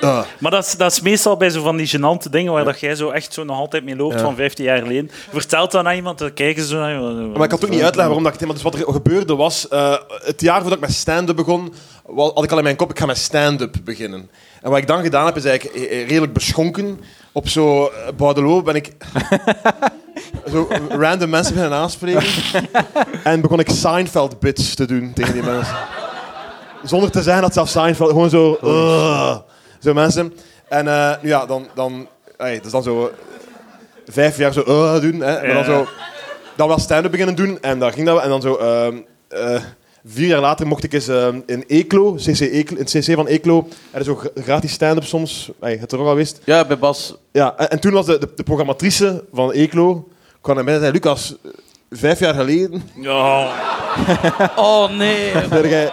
C: eh,
B: Maar dat is, dat is meestal bij zo van die gênante dingen waar dat jij zo echt zo nog altijd mee loopt
C: Ja.
B: van 15 jaar geleden. Vertelt dat aan iemand, dan kijken ze zo naar je.
C: Maar ik kan het ook niet uitleggen waarom dat ik het helemaal... Dus wat er gebeurde was, eh, het jaar voordat ik met stand-up begon, wa- had ik al in mijn kop, ik ga met stand-up beginnen. En wat ik dan gedaan heb, is eigenlijk eh, eh, redelijk beschonken. Op zo'n eh, Bordeaux ben ik zo random mensen beginnen aanspreken. en begon ik Seinfeld-bits te doen tegen die mensen. Zonder te zeggen dat zelfs Seinfeld... Gewoon zo... "Ugh." zo mensen. En eh, nu ja, dan... dan ey, dat is dan zo... eh, Vijf jaar zo... "Ugh" doen, hè. Maar dan
B: Ja.
C: zo dan wel stand-up beginnen doen. En daar ging dat wel. En dan zo... ehm, eh, vier jaar later mocht ik eens ehm, in Eeklo, CC Eeklo, in het CC van Eeklo, er is ook gra- gratis stand-up soms. Ey, je hebt er ook al geweest.
F: Ja, bij Bas.
C: Ja, en, en toen was de, de, de programmatrice van Eeklo, kwam naar mij en zei, Lucas, eh, vijf jaar geleden
B: Ja.
F: Oh nee.
C: zei jij,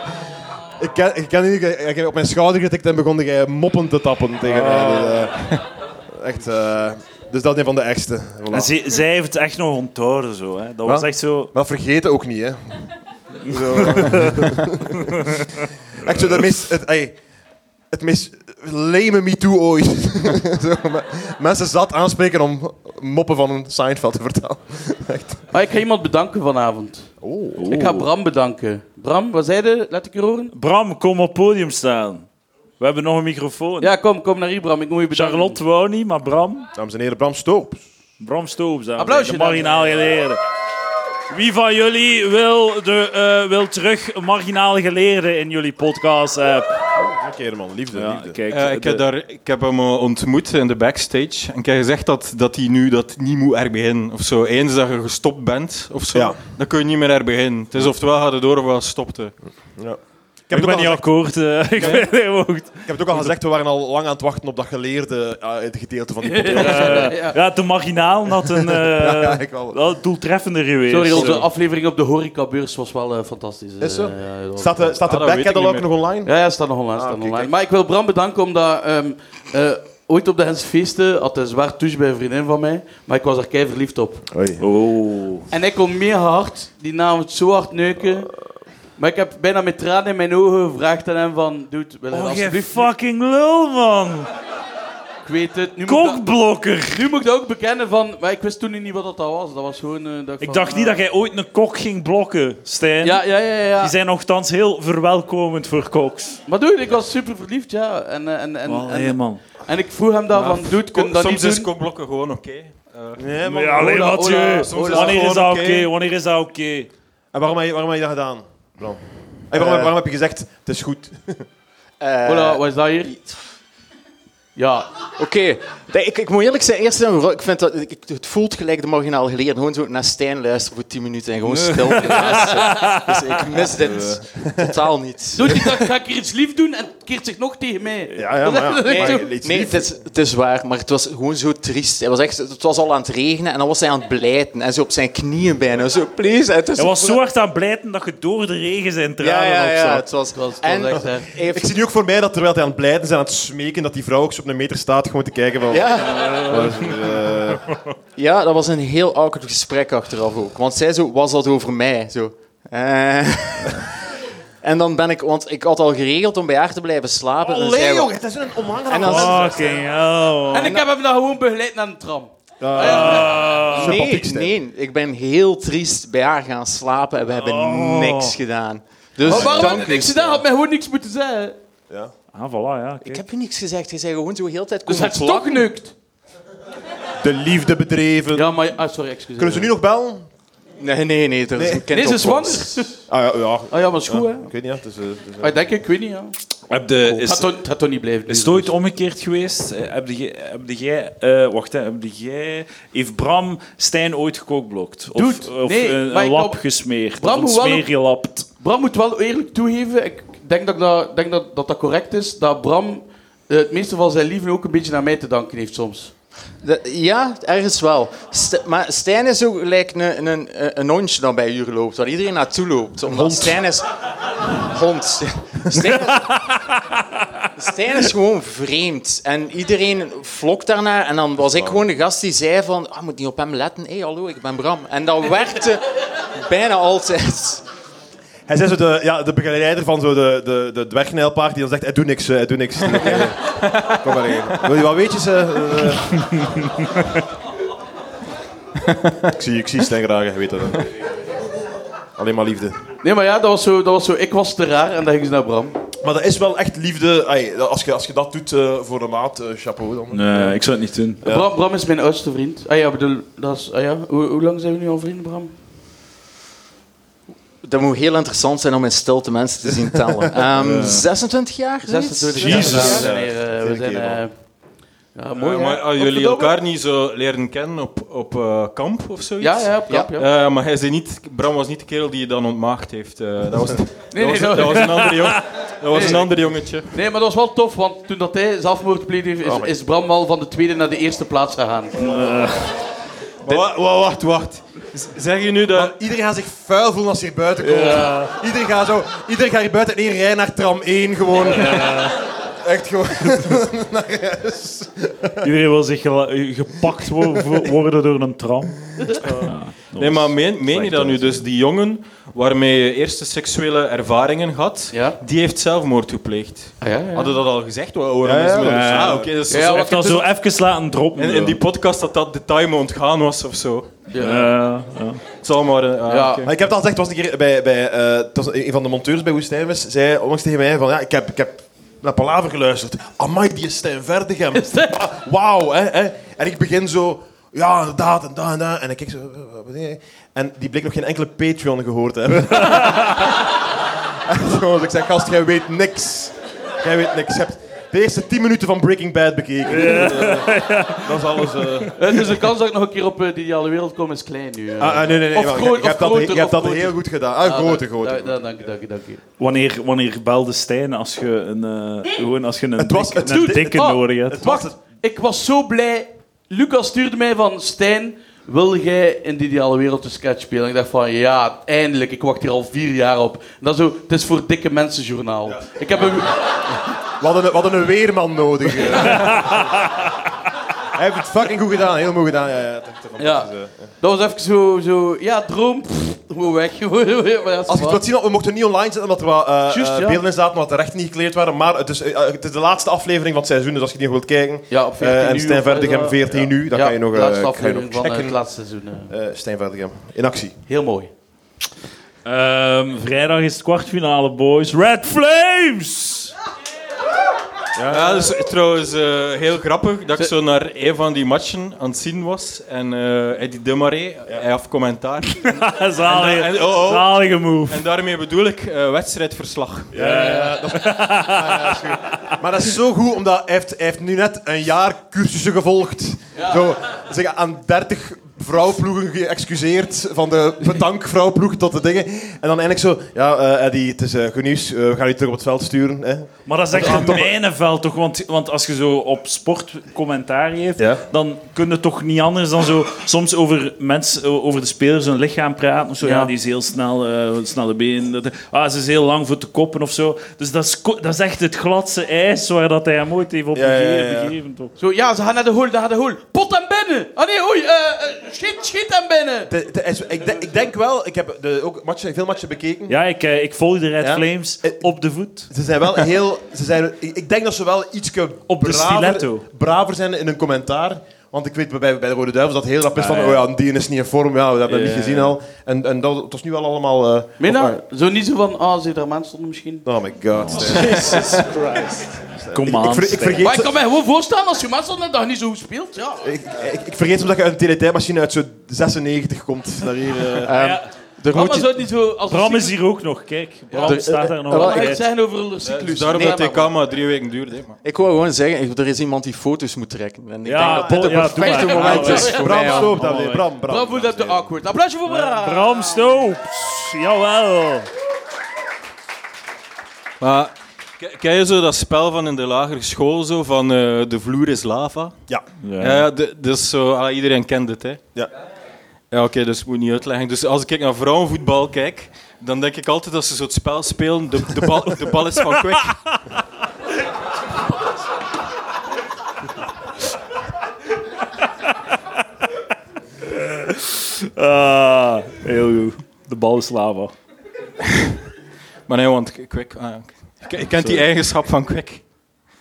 C: ik ken, ik ken die niet, ik ik heb op mijn schouder getikt en begon jij moppen te tappen tegen mij. Dus, eh, echt, eh, dus dat is een van de ergste. Voilà.
B: En ze- zij heeft het echt nog onthouden. Zo, hè. Dat was
C: Wat?
B: echt zo...
C: Maar vergeten ook niet, hè. Zo. [LAUGHS] Echt zo, dat meest, het, ey, het meest lame MeToo ooit. [LAUGHS] Zo, me- mensen zat aanspreken om moppen van een Seinfeld te vertellen. [LAUGHS] Echt.
F: Maar ik ga iemand bedanken vanavond. Ik ga Bram bedanken. Bram, wat zei je? Laat ik je horen.
B: Bram, kom op podium staan. We hebben nog een microfoon.
F: Ja, kom, kom naar hier, Bram. Ik moet je bedanken.
B: Charlotte wou niet, maar Bram...
C: Dames en heren, Bram Stoop.
B: Bram Stoop, dames en
F: Applausje,
B: heren, de marginaal geleerde. Wie van jullie wil, de, eh, wil terug marginaal geleerde in jullie podcast? eh?
C: Oké, man, liefde.
B: ja,
C: liefde.
B: kijk,
D: Eh, ik, heb daar, ik heb hem eh, ontmoet in de backstage. En ik heb gezegd dat, dat hij nu dat niet moet herbeginnen. Of zo. Eens dat je gestopt bent, of zo,
C: Ja.
D: dan kun je niet meer herbeginnen. Het is oftewel gaat het door ofwel stopte.
B: ik ben niet akkoord. eh, [LAUGHS] ik ben helemaal goed.
C: Ik heb het ook al gezegd, we waren al lang aan het wachten op dat geleerde eh, het gedeelte van [LAUGHS] die podcast.
B: Eh, ja. de marginaal had een eh
C: ja, ik wel.
B: wel doeltreffender geweest.
F: Sorry, onze
B: Eh,
F: aflevering op de horecabeurs was wel eh, fantastisch.
C: Is zo?
F: Eh, ja, dat was-
C: Staat de, staat de
D: Ah, dat weet
C: backend
D: ik
C: al
D: niet
C: ook
D: meer.
C: nog online?
F: Ja, ja, staat nog online.
C: Ah,
F: staat
C: oké,
F: online.
C: kijk.
F: Maar ik wil Bram bedanken omdat ehm, eh, ooit op de Hens Feesten had hij zwaar touche bij een vriendin van mij. Maar ik was er kei verliefd op.
B: Oh.
F: En ik kon meer hard die avond zo hard neuken. Maar ik heb bijna met tranen in mijn ogen gevraagd aan hem van... Dude, wil je
B: Oh, jij
F: alsjeblieft...
B: fucking lul, man.
F: Ik weet het. Nu moet, ik dat,
B: Kokblokker.
F: nu moet ik dat ook bekennen van... Maar ik wist toen niet wat dat was. Dat was gewoon... eh, dat
B: Ik
F: van,
B: dacht niet
F: ah.
B: dat jij ooit een kok ging blokken, Stijn.
F: Ja, ja, ja, ja.
B: Die zijn nogthans heel verwelkomend voor koks.
F: Maar dude, ik was super verliefd, ja. En, eh, en, en, en,
B: nee, man.
F: en ik vroeg hem daarvan, dude, kun je dat
D: Soms
F: niet
D: is
F: doen?
D: kopblokken gewoon oké. Eh,
C: Nee, man.
B: Ja, alleen
F: hola,
B: wat
F: hola,
B: je.
D: soms is
B: Wanneer
D: dat
B: is dat
D: gewoon
B: oké?
D: oké.
B: Wanneer is dat oké?
C: En waarom, heb je- waarom heb je dat gedaan, Bram? En waarom, waarom heb je gezegd, het is goed?
F: Hola, wat is dat
C: Eh,
F: hier? Ja,
E: Oké, Nee, ik, ik moet eerlijk zijn, eerst en vooral, ik vind dat, ik, het voelt gelijk de marginaal geleerd. Gewoon zo naar Stijn luisteren voor 10 minuten en gewoon stil ernaast
B: [LAUGHS]
E: zitten. Dus ik mis dit totaal niet.
F: Doet hij dat? Ga ik hier iets lief doen en het keert zich nog tegen mij.
C: Ja, ja, maar ja.
F: Dat is echt
E: Nee,
F: zo-
E: nee het, is, het is waar, maar het was gewoon zo triest. Hij was echt, het was al aan het regenen en dan was hij aan het blijten. En zo op zijn knieën bijna. Zo, please. Het is
B: Hij was zo hard aan het blijten dat je door de regen zijn
E: Ja,
B: tranen
E: ja, ja.
B: opzat.
E: Het was,
F: was- het was
E: en,
F: echt erg.
E: hij heeft-
C: Ik zie nu ook voor mij dat terwijl hij aan het blijten zijn, aan het smeken, dat die vrouw ook zo op een meter staat gewoon te kijken van...
E: Ja.
F: Eh,
E: ja, dat was een heel awkward gesprek achteraf ook. Want zij zo, was dat over mij? Zo. eh. en dan ben ik, want ik had al geregeld om bij haar te blijven slapen. en zij
C: Allee,
E: wa-
C: jongen, dat is een onaangenaam...
E: En dan-
B: Fucking hell, man.
F: En ik heb hem dan gewoon begeleid naar de tram.
B: Ah.
E: Nee,
C: sympathiek, Stijn.
E: nee, ik ben heel triest bij haar gaan slapen en we hebben
B: Oh.
E: niks gedaan. Dus
F: Maar Oh, waarom
E: dank
F: had
E: u,
F: ik gedaan?
E: Stijn.
F: Had mij gewoon niks moeten zeggen.
B: Ah, voilà, ja.
E: Ik
B: kijk.
E: heb je niks gezegd. Je zei gewoon zo heel de tijd...
F: Dus hij is toch geneukt.
C: De liefde bedreven.
F: Ja, maar... Ah, sorry, excuseer.
C: Kunnen ze nu nog bellen?
E: Nee, nee, nee. Er is
C: Nee.
E: een kind
F: Nee, ze is
E: op
F: zwanger.
E: komst.
C: Ah ja, ja.
F: Ah ja, maar is goed, hè.
C: Ik weet niet, ja. Het is, eh, het is, eh.
F: Ah, ik denk ik, ik weet niet, ja.
B: Heb de, is,
F: Het gaat toch- het gaat toch niet blijven
B: is het
F: duren.
B: ooit omgekeerd geweest? Eh, Heb de, jij- heb de jij... eh, wacht, hè, heb de jij... Heeft Bram Stijn ooit gekookblokt? Of,
F: Dude,
B: of
F: nee,
B: een,
F: maar
B: een
F: ik
B: lap
F: kan-
B: gesmeerd?
F: Bram,
B: of een
F: hoe wel-
B: smeer gelapt?
F: Bram moet wel eerlijk toegeven, ik denk dat ik dat, denk dat, dat, dat correct is, dat Bram eh, het meeste van zijn liefde ook een beetje aan mij te danken heeft soms.
E: De- ja, ergens wel. St- maar Stijn is ook gelijk een, een, een hondje dat bij jullie loopt, waar iedereen naartoe loopt. Omdat Stijn is... Hond. Stijn is, Stijn is gewoon vreemd. En iedereen flokt daarnaar. En dan was ik gewoon de gast die zei van... Ah, moet niet op hem letten. Hé, hallo, ik ben Bram. En dat werkte bijna altijd.
C: Hij zei zo de, ja, de begeleider van zo de, de, de dwergnijlpaard die dan zegt, hij doet niks, eh, hij doet [LAUGHS] niks. Doe niks, eh. Kom maar hier. Wil je wat weetjes? eh, eh, eh. ik zie, ik zie Stijn graag, je weet dat. hè. Alleen maar liefde.
F: Nee, maar ja, dat was zo, dat was zo ik was te raar en dan ging ze naar Bram.
C: Maar dat is wel echt liefde. Ai, als, je, als je dat doet eh, voor een maat, eh, chapeau dan.
B: Nee, ik zou het niet doen.
C: Ja.
F: Bram. Bram is mijn oudste vriend. Ah ja, bedoel, dat is, ah ja. Hoe, hoe lang zijn we nu al vrienden, Bram?
E: Dat moet heel interessant zijn om in stilte mensen te zien tellen. Ehm, 26 jaar? zoiets?
F: 26
C: Jezus.
F: Ja, nee, eh, we zijn... eh, Oh, ja, ah, mooi,
D: Eh,
F: hè?
D: maar als jullie
F: Godverdomme.
D: elkaar niet zo leren kennen op, op eh, kamp of zoiets?
F: Ja, ja, op kamp, ja.
D: Eh, maar hij zei niet, Bram was niet de kerel die je dan ontmaagd heeft. Eh, dat, was,
F: nee,
D: dat, was,
F: dat-
D: dat was een ander jong- dat was een ander jongetje.
F: Nee, maar dat was wel tof, want toen dat hij zelfmoord pleegde, is, is Bram wel van de tweede naar de eerste plaats gegaan.
D: Maar wa- wa- wacht, wacht. Z- Zeg je nu dat...
C: Eh, Iedereen gaat zich vuil voelen als ze hier buiten komen. Iedereen gaat zo... Iedereen gaat hier buiten en één rij naar tram 1 gewoon. Echt gewoon.
G: Iedereen wil zich gela- eh, gepakt wo- vo- worden door een tram.
D: Nee, maar meen, meen je dat nu? Dus die jongen waarmee je eerste seksuele ervaringen had,
F: Ja.
D: die heeft zelfmoord gepleegd.
F: Ah, ja, ja.
D: Hadden dat al gezegd? Wa- Waarom
C: Ja,
D: is
C: ja.
D: me dat-
B: Ja.
D: Ah, oké. dat is-
F: Ja,
B: Ik
F: want
B: heb dat zo even laten droppen.
D: in, in die podcast dat dat detail me ontgaan was of zo.
F: Ja.
B: Ja, ja.
D: Het zal maar... eh, ah,
F: Ja.
D: oké.
C: Maar ik heb het al gezegd, was een keer bij, bij eh, het was een van de monteurs bij Woestijnvis, zei onlangs tegen mij van, ja, ik heb, ik heb naar Palaver geluisterd. Amai, die is Stijn Verdegem. Ah, Wauw, hè, hè. En ik begin zo, ja, inderdaad, en dat en dat. En ik kijk zo... eh, wat is dit? En die bleek nog geen enkele Patreon gehoord te hebben. [LAUGHS] en zo, dus ik zeg, gast, jij weet niks. Jij weet niks. Je hebt de eerste 10 minuten van Breaking Bad bekeken. [LAUGHS] Eh, dat is alles... eh.
F: Eh, Dus de kans dat ik nog een keer op eh, de ideale wereld kom is klein nu. eh.
C: Ah, ah, nee, nee, nee.
F: Of
C: maar je-
F: groot-
C: je hebt
F: of
C: dat, je
F: groter,
C: hebt
F: of
C: dat heel
F: groter.
C: goed gedaan. Ah,
F: Ah,
C: grote,
F: da-
C: grote.
F: da- da- Dank je, dank je, dank je.
G: Wanneer, wanneer belde Stijn als je een, eh, gewoon als je een,
C: Het was-
G: dikke-
C: het-
G: een
F: Dude,
G: dikke
F: oh,
G: nodig hebt?
C: Het was het.
F: Ik was zo blij. Lucas stuurde mij van Stijn, wil jij in de ideale wereld een sketch spelen? Ik dacht van ja, eindelijk. Ik wacht hier al vier jaar op. En dat zo, het is voor dikke mensen journaal. Ik heb een,
C: We hadden, een- we hadden een weerman nodig. eh. Hij heeft het fucking goed gedaan, heel mooi gedaan. Ja, ja. het is
F: ja,
C: fantastisch, eh.
F: dat was even zo, zo ja, droom, pff, gewoon weg. [LAUGHS] Gewoon- maar ja, dat is
C: Als ik het
F: waar.
C: wilt zien, we mochten niet online zetten omdat er wat eh, eh,
F: Juist, ja.
C: beelden in zaten, omdat de rechten niet gekleerd waren. Maar het is, eh, eh, het is de laatste aflevering van het seizoen, dus als je die nog wilt kijken.
F: ja, op 14
C: eh, en
F: uur
C: Stijn
F: of wat is
C: Verdegem,
F: dat?
C: 14
F: Ja.
C: uur, dan
F: Ja,
C: ga je nog, eh,
F: laatste
C: ga je
F: aflevering
C: nog
F: van eh,
C: checken.
F: het laatste seizoen. eh.
C: Eh, Stijn Verdegem, in actie.
F: Heel mooi.
B: Ehm, vrijdag is het kwartfinale, boys. Red Flames!
D: Ja, dat is trouwens eh, heel grappig dat ik zo naar een van die matchen aan het zien was. En eh Eddie Demaré, hij had commentaar.
B: Zalige,
D: En- en- oh, oh.
B: zalige move.
D: en daarmee bedoel ik eh, wedstrijdverslag.
C: Maar dat is zo goed, omdat hij heeft, hij heeft nu net een jaar cursussen gevolgd. Zo, zeg, aan 30 vrouwploegen geëxcuseerd. Van de petankvrouwploeg tot de dingen. En dan eindelijk zo... Ja, eh Eddie, het is eh, goed nieuws. Eh, we gaan u terug op het veld sturen. Hè.
B: Maar dat is echt
C: Ja,
B: een
C: toch.
B: mijnenveld, toch? Want, want als je zo op sport commentaar geeft,
C: Ja.
B: dan kun je toch niet anders dan zo soms over, mensen, over de spelers hun lichaam praten. Of zo. Ja.
F: Ja.
B: die is heel snel, eh snelle been. Dat- Ah, ze is heel lang voor te koppen of zo. Dus dat is, ko- dat is echt het gladste ijs waar dat hij hem ooit heeft op
C: Ja, ja, ja,
B: begeven.
C: ja.
B: begeven, toch?
F: Zo, ja, ze gaan naar de hol, ze gaan naar de hol. Pot aan binnen! Ah nee, oei, eh, eh, schiet, schiet aan binnen!
C: De- de- is- ik, denk- ik denk wel... Ik heb de, ook matchen, veel matchen bekeken.
B: Ja, ik, eh, ik volg de Red
C: Ja.
B: Flames
C: Eh,
B: op de voet.
C: Ze zijn wel heel... Ze zijn, ik ik denk dat ze wel iets
B: Op de
C: braver,
B: stiletto.
C: braver zijn in hun commentaar. Want ik weet bij, bij de Rode Duivels dat heel rap is van... Oh ja, die is niet in vorm. Ja, we hebben dat niet gezien al. En, en dat, het was nu wel allemaal... eh,
F: Meen
C: op-
F: dat? Zo niet zo van, ah, zie je daar mensen stonden misschien.
C: Oh my god.
B: Kom
C: Ik,
B: aan.
E: Oh,
C: ik, ver- ik
B: Stijn.
C: vergeet
F: Maar ik
C: zo-
F: kan mij gewoon voorstellen als je mensen stonden dat je niet zo goed speelt, ja.
C: ik, ik, ik vergeet soms dat je uit een teletijmachine uit zo'n 96 komt naar hier. eh.
E: Ehm,
B: Ja.
E: er
F: Bram
E: moet
F: is
E: i-
F: dat niet zo... Als
B: Bram is hier ook nog, kijk. Bram
E: Er-
B: staat daar
E: eh,
B: nog
E: eh,
B: wel
F: Ik
E: eh,
B: bij.
F: het zeggen over de
D: Dus
F: cyclus.
D: daarom
F: Nee,
D: dat
F: maar-
D: de kamer drie weken duurde. hè, Maar.
E: Ik wil gewoon zeggen, er is iemand die foto's moet trekken. En ik
B: Ja,
E: denk dat dit
B: Paul,
E: het
B: ja,
E: perfecte
B: doe maar.
E: moment is
B: Ja,
E: voor mij.
C: Bram
E: om-
C: Stoop, dan weer. Bram, Bram.
F: Bram voelt dat de awkward. Applausje voor Bram!
C: eh,
B: Bram Stoops, jawel.
D: Maar, k- ken je zo dat spel van in de lagere school, zo, van eh, de vloer is lava?
C: Ja.
D: Ja, de- dus zo, ah, iedereen kent het, hè?
C: Ja.
D: Ja, oké, dus ik moet niet uitleggen. Dus als ik naar vrouwenvoetbal kijk, dan denk ik altijd dat ze zo'n spel spelen, de, de, bal, de bal is van kwik.
B: Ah, heel goed. De bal is lava.
D: Maar nee, want K- Kwik... Ah, oké. Ik- Ik ken die eigenschap van Kwik.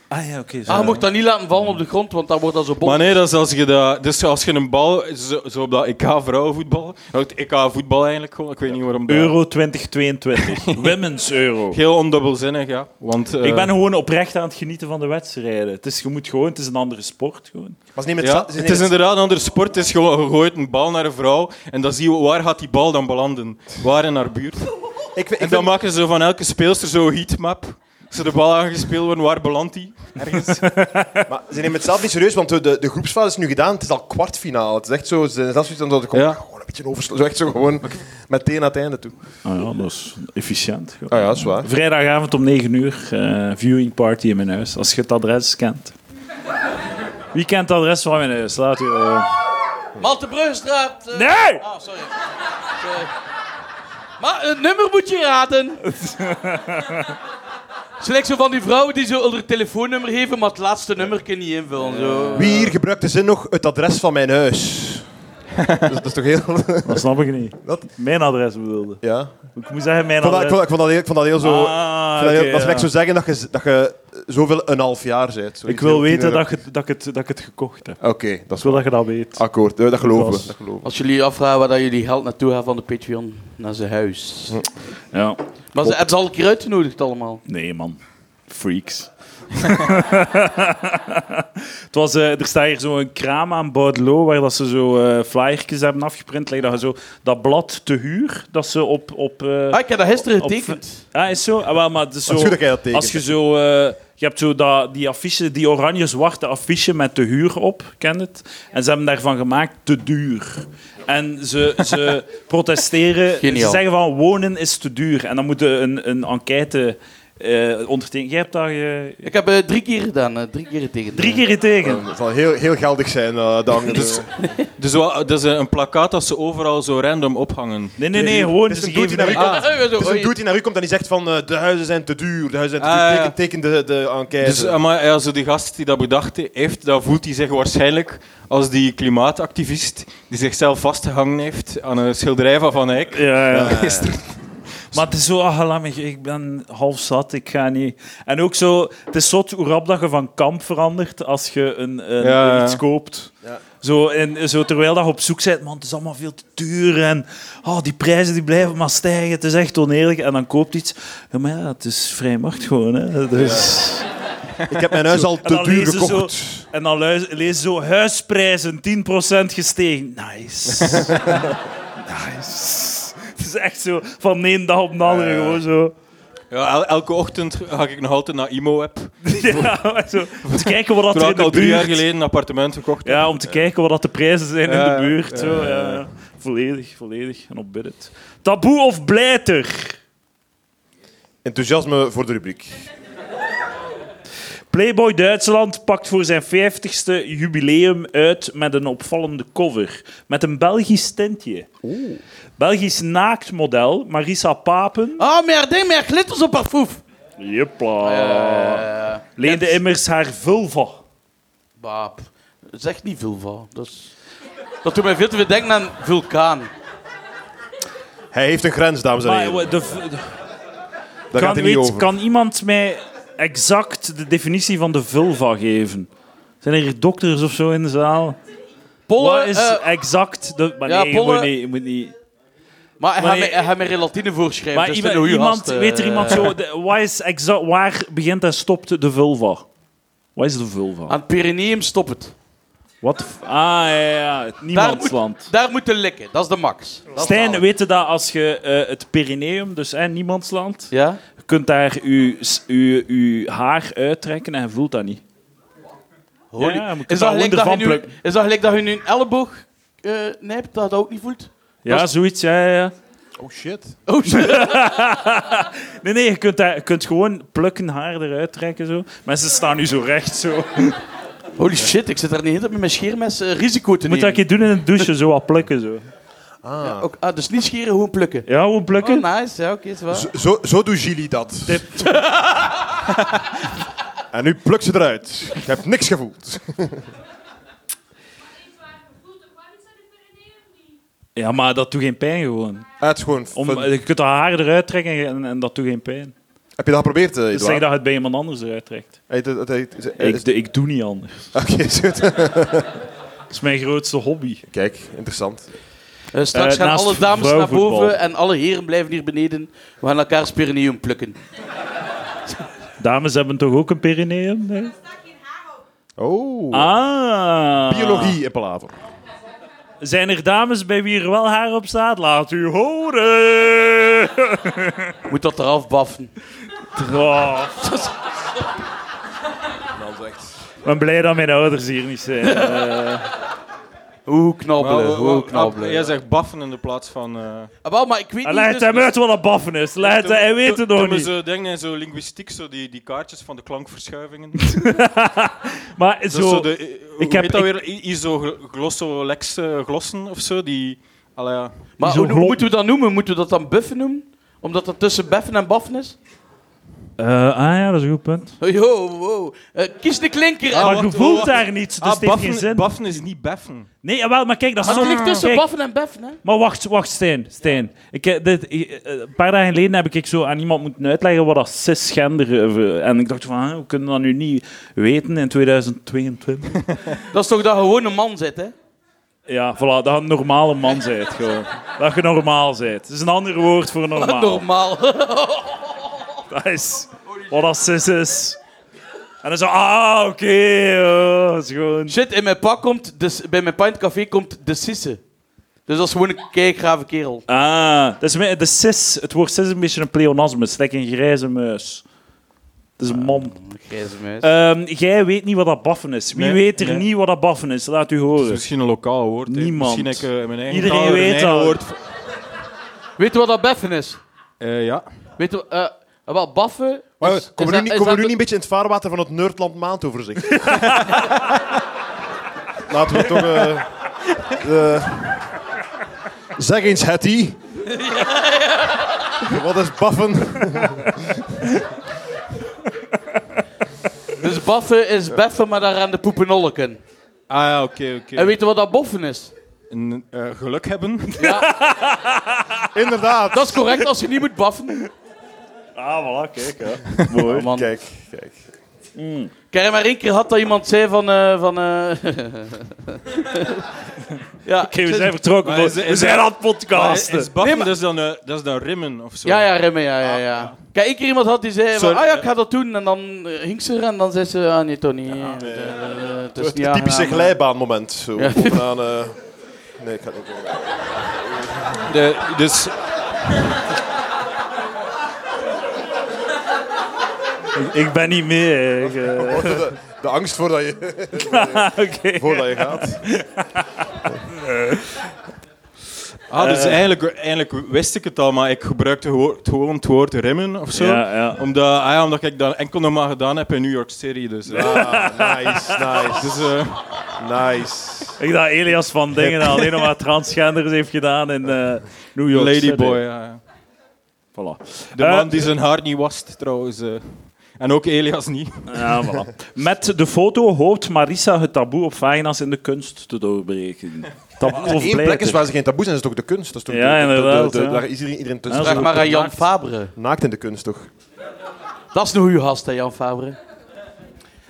B: Ah ja, oké. zo.
F: Ah, je mocht dat niet laten vallen op de grond, want dan wordt dat zo bot.
D: Maar nee, dat is als je, dat, dus als je een bal... Zo, zo op dat EK vrouwenvoetbal... Het EK voetbal eigenlijk gewoon. Ik weet niet waarom dat...
B: Euro 2022. [LAUGHS] Women's Euro.
D: Heel ondubbelzinnig, ja. Want, eh,
B: Ik ben gewoon oprecht aan het genieten van de wedstrijden. Het is, je moet gewoon, het is een andere sport. Gewoon.
C: Maar ze nemen het,
D: Ja,
C: za- ze
D: het
C: nemen
D: is
C: het-
D: inderdaad een ander sport. Het is gewoon, je gooit een bal naar een vrouw en dan zie je waar gaat die bal dan belanden. Waar in haar [LAUGHS] buurt.
C: Ik, vind-
D: En
C: ik
D: dan
C: vind-
D: maken ze van elke speelster zo'n heatmap. Ze de bal aangespeeld worden, waar belandt die?
C: maar ze nemen het zelf niet serieus, want de, de, de groepsfase is nu gedaan. Het is al kwartfinale. Het is echt zo, ze zijn zelfs zoiets aan dat ik
D: Ja.
C: gewoon een beetje overslaan. Zo echt zo gewoon meteen naar het einde toe.
B: Ah ja, dat is efficiënt.
C: Ah ja, is waar.
B: Vrijdagavond om 9 uur, eh, viewing party in mijn huis. Als je het adres kent. Wie kent het adres van mijn huis? Laat u. eh.
F: Malte Bruggestraat. eh,
B: Nee!
F: Ah, sorry. Sorry. Maar een nummer moet je raden. Slechts zo van die vrouwen die zo hun telefoonnummer geven, maar het laatste nummer kun je niet invullen. Zo.
C: Wie hier gebruikt de zin nog het adres van mijn huis? dus, dat is toch heel...
B: Dat snap ik niet.
C: Wat?
B: Mijn adres bedoelde.
C: [LAUGHS] ja.
B: Ik moet zeggen, mijn
C: Ik vond, dat,
B: adres.
C: ik, vond, ik vond dat heel, ik vond dat heel zo...
B: Ah,
C: ik vond dat, heel-
B: oké,
C: dat is
B: ja.
C: net zo zeggen dat je, dat je zoveel een half jaar bent. Zoiets
B: Ik wil
C: heel
B: weten
C: tiener-
B: dat, je, dat, ik het, dat ik het gekocht heb.
C: Oké, dat
B: Ik
C: is
B: wil dat je dat weet.
C: akkoord. Eh, Dat geloven
B: was-
C: we. Dat geloven we.
F: Als jullie afvragen waar dat jullie geld naartoe gaan van de Patreon, naar zijn huis.
B: Ja.
F: Maar ze hebben ze al een keer uitgenodigd allemaal.
B: Nee, man. Freaks. [LAUGHS] het was, eh, er staat hier zo'n kraam aan Boudeloo waar dat ze zo eh flyertjes hebben afgeprint. Like dat, je zo, dat blad te huur dat ze op... op eh,
F: Ah, ik heb dat gisteren
B: Op-
F: getekend.
B: Ah, is zo? Ah, wel, maar het is
C: Dat is
B: zo-
C: goed dat jij dat tekent.
B: Als je zo... eh, je hebt zo dat, die affiche, die oranje-zwarte affiche met de huur op, ken je het? En ze hebben daarvan gemaakt te duur. En ze, ze protesteren.
F: Geniaal.
B: Ze zeggen van wonen is te duur. En dan moeten een, een enquête eh ondertekenen. Jij hebt daar eh,
F: Ik heb eh, drie keer gedaan, eh, drie keer getekend.
B: drie keer tegen.
C: Dat zal heel, heel geldig zijn eh dan. Dus,
D: Dus wel, dat is een plakkaat dat ze overal zo random ophangen.
B: Nee, nee, nee, gewoon.
C: Dus
B: ze
C: dan doet
B: geven
C: hij
B: die-
C: dat
F: Ah, eh, zo,
C: dus een
F: oei.
C: dude die naar u komt en die zegt van eh, de huizen zijn te duur, de huizen zijn te
D: Ah,
C: duur,
D: ja.
C: teken, teken de, de enquête.
D: Dus eh, maar, ja, zo die gast die dat bedacht heeft, dat voelt hij zich waarschijnlijk als die klimaatactivist die zichzelf vastgehangen heeft aan een schilderij van Van Eyck.
B: Ja, ja.
D: [LAUGHS] Gisteren.
B: Maar het is zo, ah, laat me- ik ben half zat, ik ga niet. En ook zo, het is zot hoe rap dat je van kamp verandert als je een, een-
D: Ja, ja.
B: iets koopt. Zo, en, zo, terwijl dat je op zoek bent, man, het is allemaal veel te duur en ah, die prijzen die blijven maar stijgen, het is echt oneerlijk. En dan koopt iets, ja, maar ja, het is vrij macht gewoon. Hè. Dus...
C: ik heb mijn huis al
B: En
C: te
B: dan
C: duur
B: lezen ze
C: gekocht.
B: Zo, en dan luis- lezen ze zo huisprijzen 10% gestegen.
D: [LAUGHS]
B: Nice. nice. Het is echt zo van de ene dag op de andere gewoon
D: [LAUGHS]
B: zo.
D: Ja, el- elke ochtend ga ik nog altijd naar Imo-app.
B: Ja, maar zo. Om te kijken wat dat er
D: Terwijl ik
B: in
D: al
B: de
D: drie jaar
B: buurt...
D: geleden een appartement gekocht heb.
B: Ja, om te kijken wat dat de prijzen zijn in
D: Ja,
B: de buurt. Zo, ja. Volledig, volledig. En op bid it. Taboe of blijter?
C: Enthousiasme voor de rubriek.
B: Playboy Duitsland pakt voor zijn 50ste jubileum uit met een opvallende cover. Met een Belgisch tintje. Belgisch naaktmodel Marisa Papen.
F: Ah, meer ding, meer glitters op haar foef.
B: Jepla.
F: Eh,
B: Leende immers haar vulva.
F: Baap. Zeg niet vulva. Dat, is... dat doet mij veel te veel denken aan vulkaan.
C: Hij heeft een grens, dames en
B: Maar,
C: heren.
B: eh, de v- de-
C: Daar gaat
B: kan,
C: hij niet
B: weet-
C: over.
B: kan iemand mij exact de definitie van de vulva geven? Zijn er dokters of zo in de zaal?
F: Pollen
B: Wat is
F: eh,
B: exact de... Maar
F: ja,
B: nee, je moet
F: pollen-
B: niet- je moet niet...
F: maar hij
B: maar
F: gaat
B: nee.
F: mij- hij gaat mij relatine voorschrijven.
B: Maar
F: dus
B: iemand,
F: dat is een goeie
B: iemand-
F: gast, eh.
B: weet er iemand [LAUGHS] zo, de- waar, is exa- waar begint en stopt de vulva? Wat is de vulva?
F: Aan het Pyreneeën stop het.
B: Wat? f- Ah, ja, ja, het niemandsland.
F: Daar moet je likken, dat is de max. Dat is
B: Stijn,
F: alles.
B: weet je dat als je eh, het Pyreneeum, dus eh, niemandsland,
F: Ja?
B: je kunt daar je, s- je, je haar uittrekken en je voelt dat niet.
F: Holy.
B: Ja, je moet
F: is,
B: daar
F: dat gelijk
B: hoender
F: dat je
B: van
F: nu,
B: plukken.
F: is dat gelijk dat je nu een elleboog eh nijpt, dat je dat ook niet voelt?
B: Ja, zoiets, ja, ja, ja.
C: Oh shit.
F: Oh, shit.
B: Nee, nee, je kunt, daar, je kunt gewoon plukken haar eruit trekken. Zo. Mensen staan nu zo recht. Zo.
F: [LAUGHS] Holy shit, ik zit daar niet in met mijn scheermes eh, risico te
B: Moet
F: nemen.
B: dat je doen in het douche, zo wat plukken. Zo.
F: Ook- ah, dus niet scheren, gewoon plukken.
B: Ja, gewoon plukken.
F: Oh, nice, ja, oké, is wel.
C: Zo, zo, zo doet Gilly dat. [LAUGHS] en nu plukt ze eruit. Ik heb niks gevoeld.
H: Eén waar gevoeld, en waar is dat in Pyreneeën niet?
B: Ja, maar dat doet geen pijn gewoon.
C: Ah, het is gewoon
B: Om, eh,
C: fun.
B: je kunt de haren eruit trekken en, en dat doet geen pijn.
C: Heb je dat geprobeerd, eh,
B: Dus zeg dat
C: Eduard?
B: je het bij iemand anders eruit trekt.
C: Hey, dat- dat- dat- is-
B: Ik,
C: is-
B: d- ik doe niet anders.
C: [LAUGHS] Oké, goed.
B: Dat is mijn grootste hobby.
C: Kijk, interessant.
F: Eh, straks
B: Eh,
F: gaan
B: naast
F: alle dames naar
B: vrouwenvoetbal.
F: boven en alle heren blijven hier beneden. We gaan elkaar perineum plukken.
B: Dames hebben toch ook een perineum? hè?
C: Oh.
B: Ah.
C: Biologie in palaver.
B: Zijn er dames bij wie er wel haar op staat? Laat u horen. [LAUGHS]
F: Moet dat eraf baffen.
B: Oh, ik ben blij dat mijn ouders hier niet zijn.
D: [LAUGHS]
B: Eh,
F: Hoe
D: Maar
F: knabbelen,
D: wa- wa-
F: hoe
D: ah,
F: knabbelen.
D: Jij zegt baffen in de plaats van... eh
F: Ah, wel, maar ik weet niet...
B: Leg
F: dus-
B: hem uit wat dat baffen is. Leg het, hij weet het nog
D: Toen we
B: niet.
D: zo dingen, zo linguïstiek, zo die, die kaartjes van de klankverschuivingen.
B: [LAUGHS] Maar
D: Dat is zo
B: zo,
D: de, eh, hoe
B: heb-
D: heet dat
B: ik-
D: weer? I- Isoglossolex eh, glossen of zo? Die, allee, ja.
F: Maar
B: Zo
F: hoe, hoe
B: glom-
F: moeten we dat noemen? Moeten we dat dan buffen noemen? Omdat dat tussen beffen en baffen is?
B: Eh, ah ja, dat is een goed punt.
F: Oh, Yo, wow. Eh, kies de klinker.
D: Ah,
B: Maar
D: wacht,
B: je
D: oh,
B: voelt
D: wacht.
B: daar niets, dus
D: Ah,
B: het heeft geen
D: baffen,
B: zin.
D: baffen is niet beffen.
B: Nee, jawel, maar kijk, dat is
F: maar
B: zo
F: dat ligt tussen
B: Kijk,
F: baffen en beffen, hè?
B: Maar wacht, wacht, Stijn. Stijn. Ik, eh, dit, eh, eh, een paar dagen geleden heb ik zo aan iemand moeten uitleggen wat dat cisgender... eh, En ik dacht van, hè, hoe kunnen we dat nu niet weten in 2022?
F: Dat is toch dat gewoon een man zit, hè?
B: [LAUGHS] Ja, voilà, dat je een normale man bent. Gewoon. Dat je normaal bent. Dat is een ander woord voor normaal.
F: Normaal. [LAUGHS]
B: Dat is wat dat cis is. En dan zo, ah, oké, oh, dat is gewoon...
F: Shit, in mijn pak komt de, bij mijn pint café komt de sisse. Dus dat is gewoon een keigrave kerel.
B: Ah, dat is me- de cis. Het woord cis is een beetje een pleonasme. Het is like een grijze muis. Het is een man.
D: Ah,
F: Grijze muis.
B: Ehm, jij weet niet wat dat baffen is. Wie
D: Nee,
B: weet er
D: nee.
B: niet wat dat baffen is? Laat u
D: Dat is
B: horen.
D: misschien een lokaal woord. hè.
B: Niemand.
D: Misschien heb ik eh, in mijn eigen
B: Iedereen
D: taal er een
B: weet
D: eigen
B: dat.
D: woord. voor-
F: Weet je wat dat beffen is?
D: Eh, ja.
F: Weet je eh, wel, baffen... is-
C: Maar
F: is
C: komen we
F: dat-
C: nu, niet-
F: is
C: komen we
F: dat
C: nu
F: de-
C: niet een beetje in het vaarwater van het Nerdland
B: [LAUGHS]
C: maandoverzicht? Laten we toch... eh, eh, zeg eens, Hattie. Wat is baffen?
F: Dus baffen is beffen, maar daar aan de poepenolken.
D: Ah ja, oké, oké.
F: En weet je wat dat boffen is?
D: Een, eh, geluk hebben.
C: Inderdaad.
F: Dat is correct als je niet moet baffen.
B: Ah, voilà, kijk. Hè.
D: [LAUGHS]
F: Oh, man.
C: Kijk, kijk.
F: Ik heb er maar één keer gehad dat iemand zei van... eh, van eh, [LAUGHS] ja,
B: Oké, we zijn vertrokken.
D: Maar is-
B: we
D: is-
B: zijn aan het
D: Maar
B: podcasten.
D: is baffen,
F: Nee, maar-
D: dat, is dan, eh, dat is dan rimmen of zo.
F: ja, ja, remmen, ja, ja, ja. Kijk, één keer iemand had die zei van...
D: Sorry,
F: Ah ja,
D: eh.
F: ik ga dat doen. En dan eh, hing ze er en dan zei ze... Ah nee, Tony. eh, eh, het
B: Dus
F: is
C: Het
F: niet
C: typische
F: aangenaam.
C: glijbaanmoment. Zo.
F: Ja.
C: bovenaan, eh, nee, ik ga het niet doen.
D: De- dus
B: Ik ben niet mee. hè. Ik,
D: [LAUGHS]
B: eh,
C: De, de angst voordat je,
B: [LAUGHS] Oké.
C: voordat je gaat.
D: Ah, dus
B: Eh.
D: eigenlijk, eigenlijk wist ik het al, maar ik gebruikte gewoon het, gewoon het woord remmen of zo.
B: Ja, ja.
D: Omdat, ah ja, omdat ik dat enkel nog maar gedaan heb in New York City. Dus, eh.
C: Ah, nice, nice,
D: Dus, eh,
C: nice.
B: Ik dacht Elias van Dingen dat alleen nog maar transgenders heeft gedaan in eh, New York City.
D: Ladyboy, ja, ja.
B: Voilà.
D: De
B: Eh,
D: man die zijn haar niet wast, trouwens. eh. En ook Elias niet.
B: Ja, voilà. Met de foto hoopt Marissa het taboe op vagina's in de kunst te doorbreken. Taboe of
C: Eén plek is
B: blijter.
C: waar ze geen taboe zijn, is toch de kunst? Dat is toch
B: Ja,
C: de- de- de-
B: inderdaad,
C: de- de-
B: ja.
C: Daar is iedereen, iedereen tussen.
B: Ja,
F: Vraag maar aan Jan Fabre.
C: Naakt in de kunst, toch?
F: Dat is een goede gast, hè, Jan Fabre.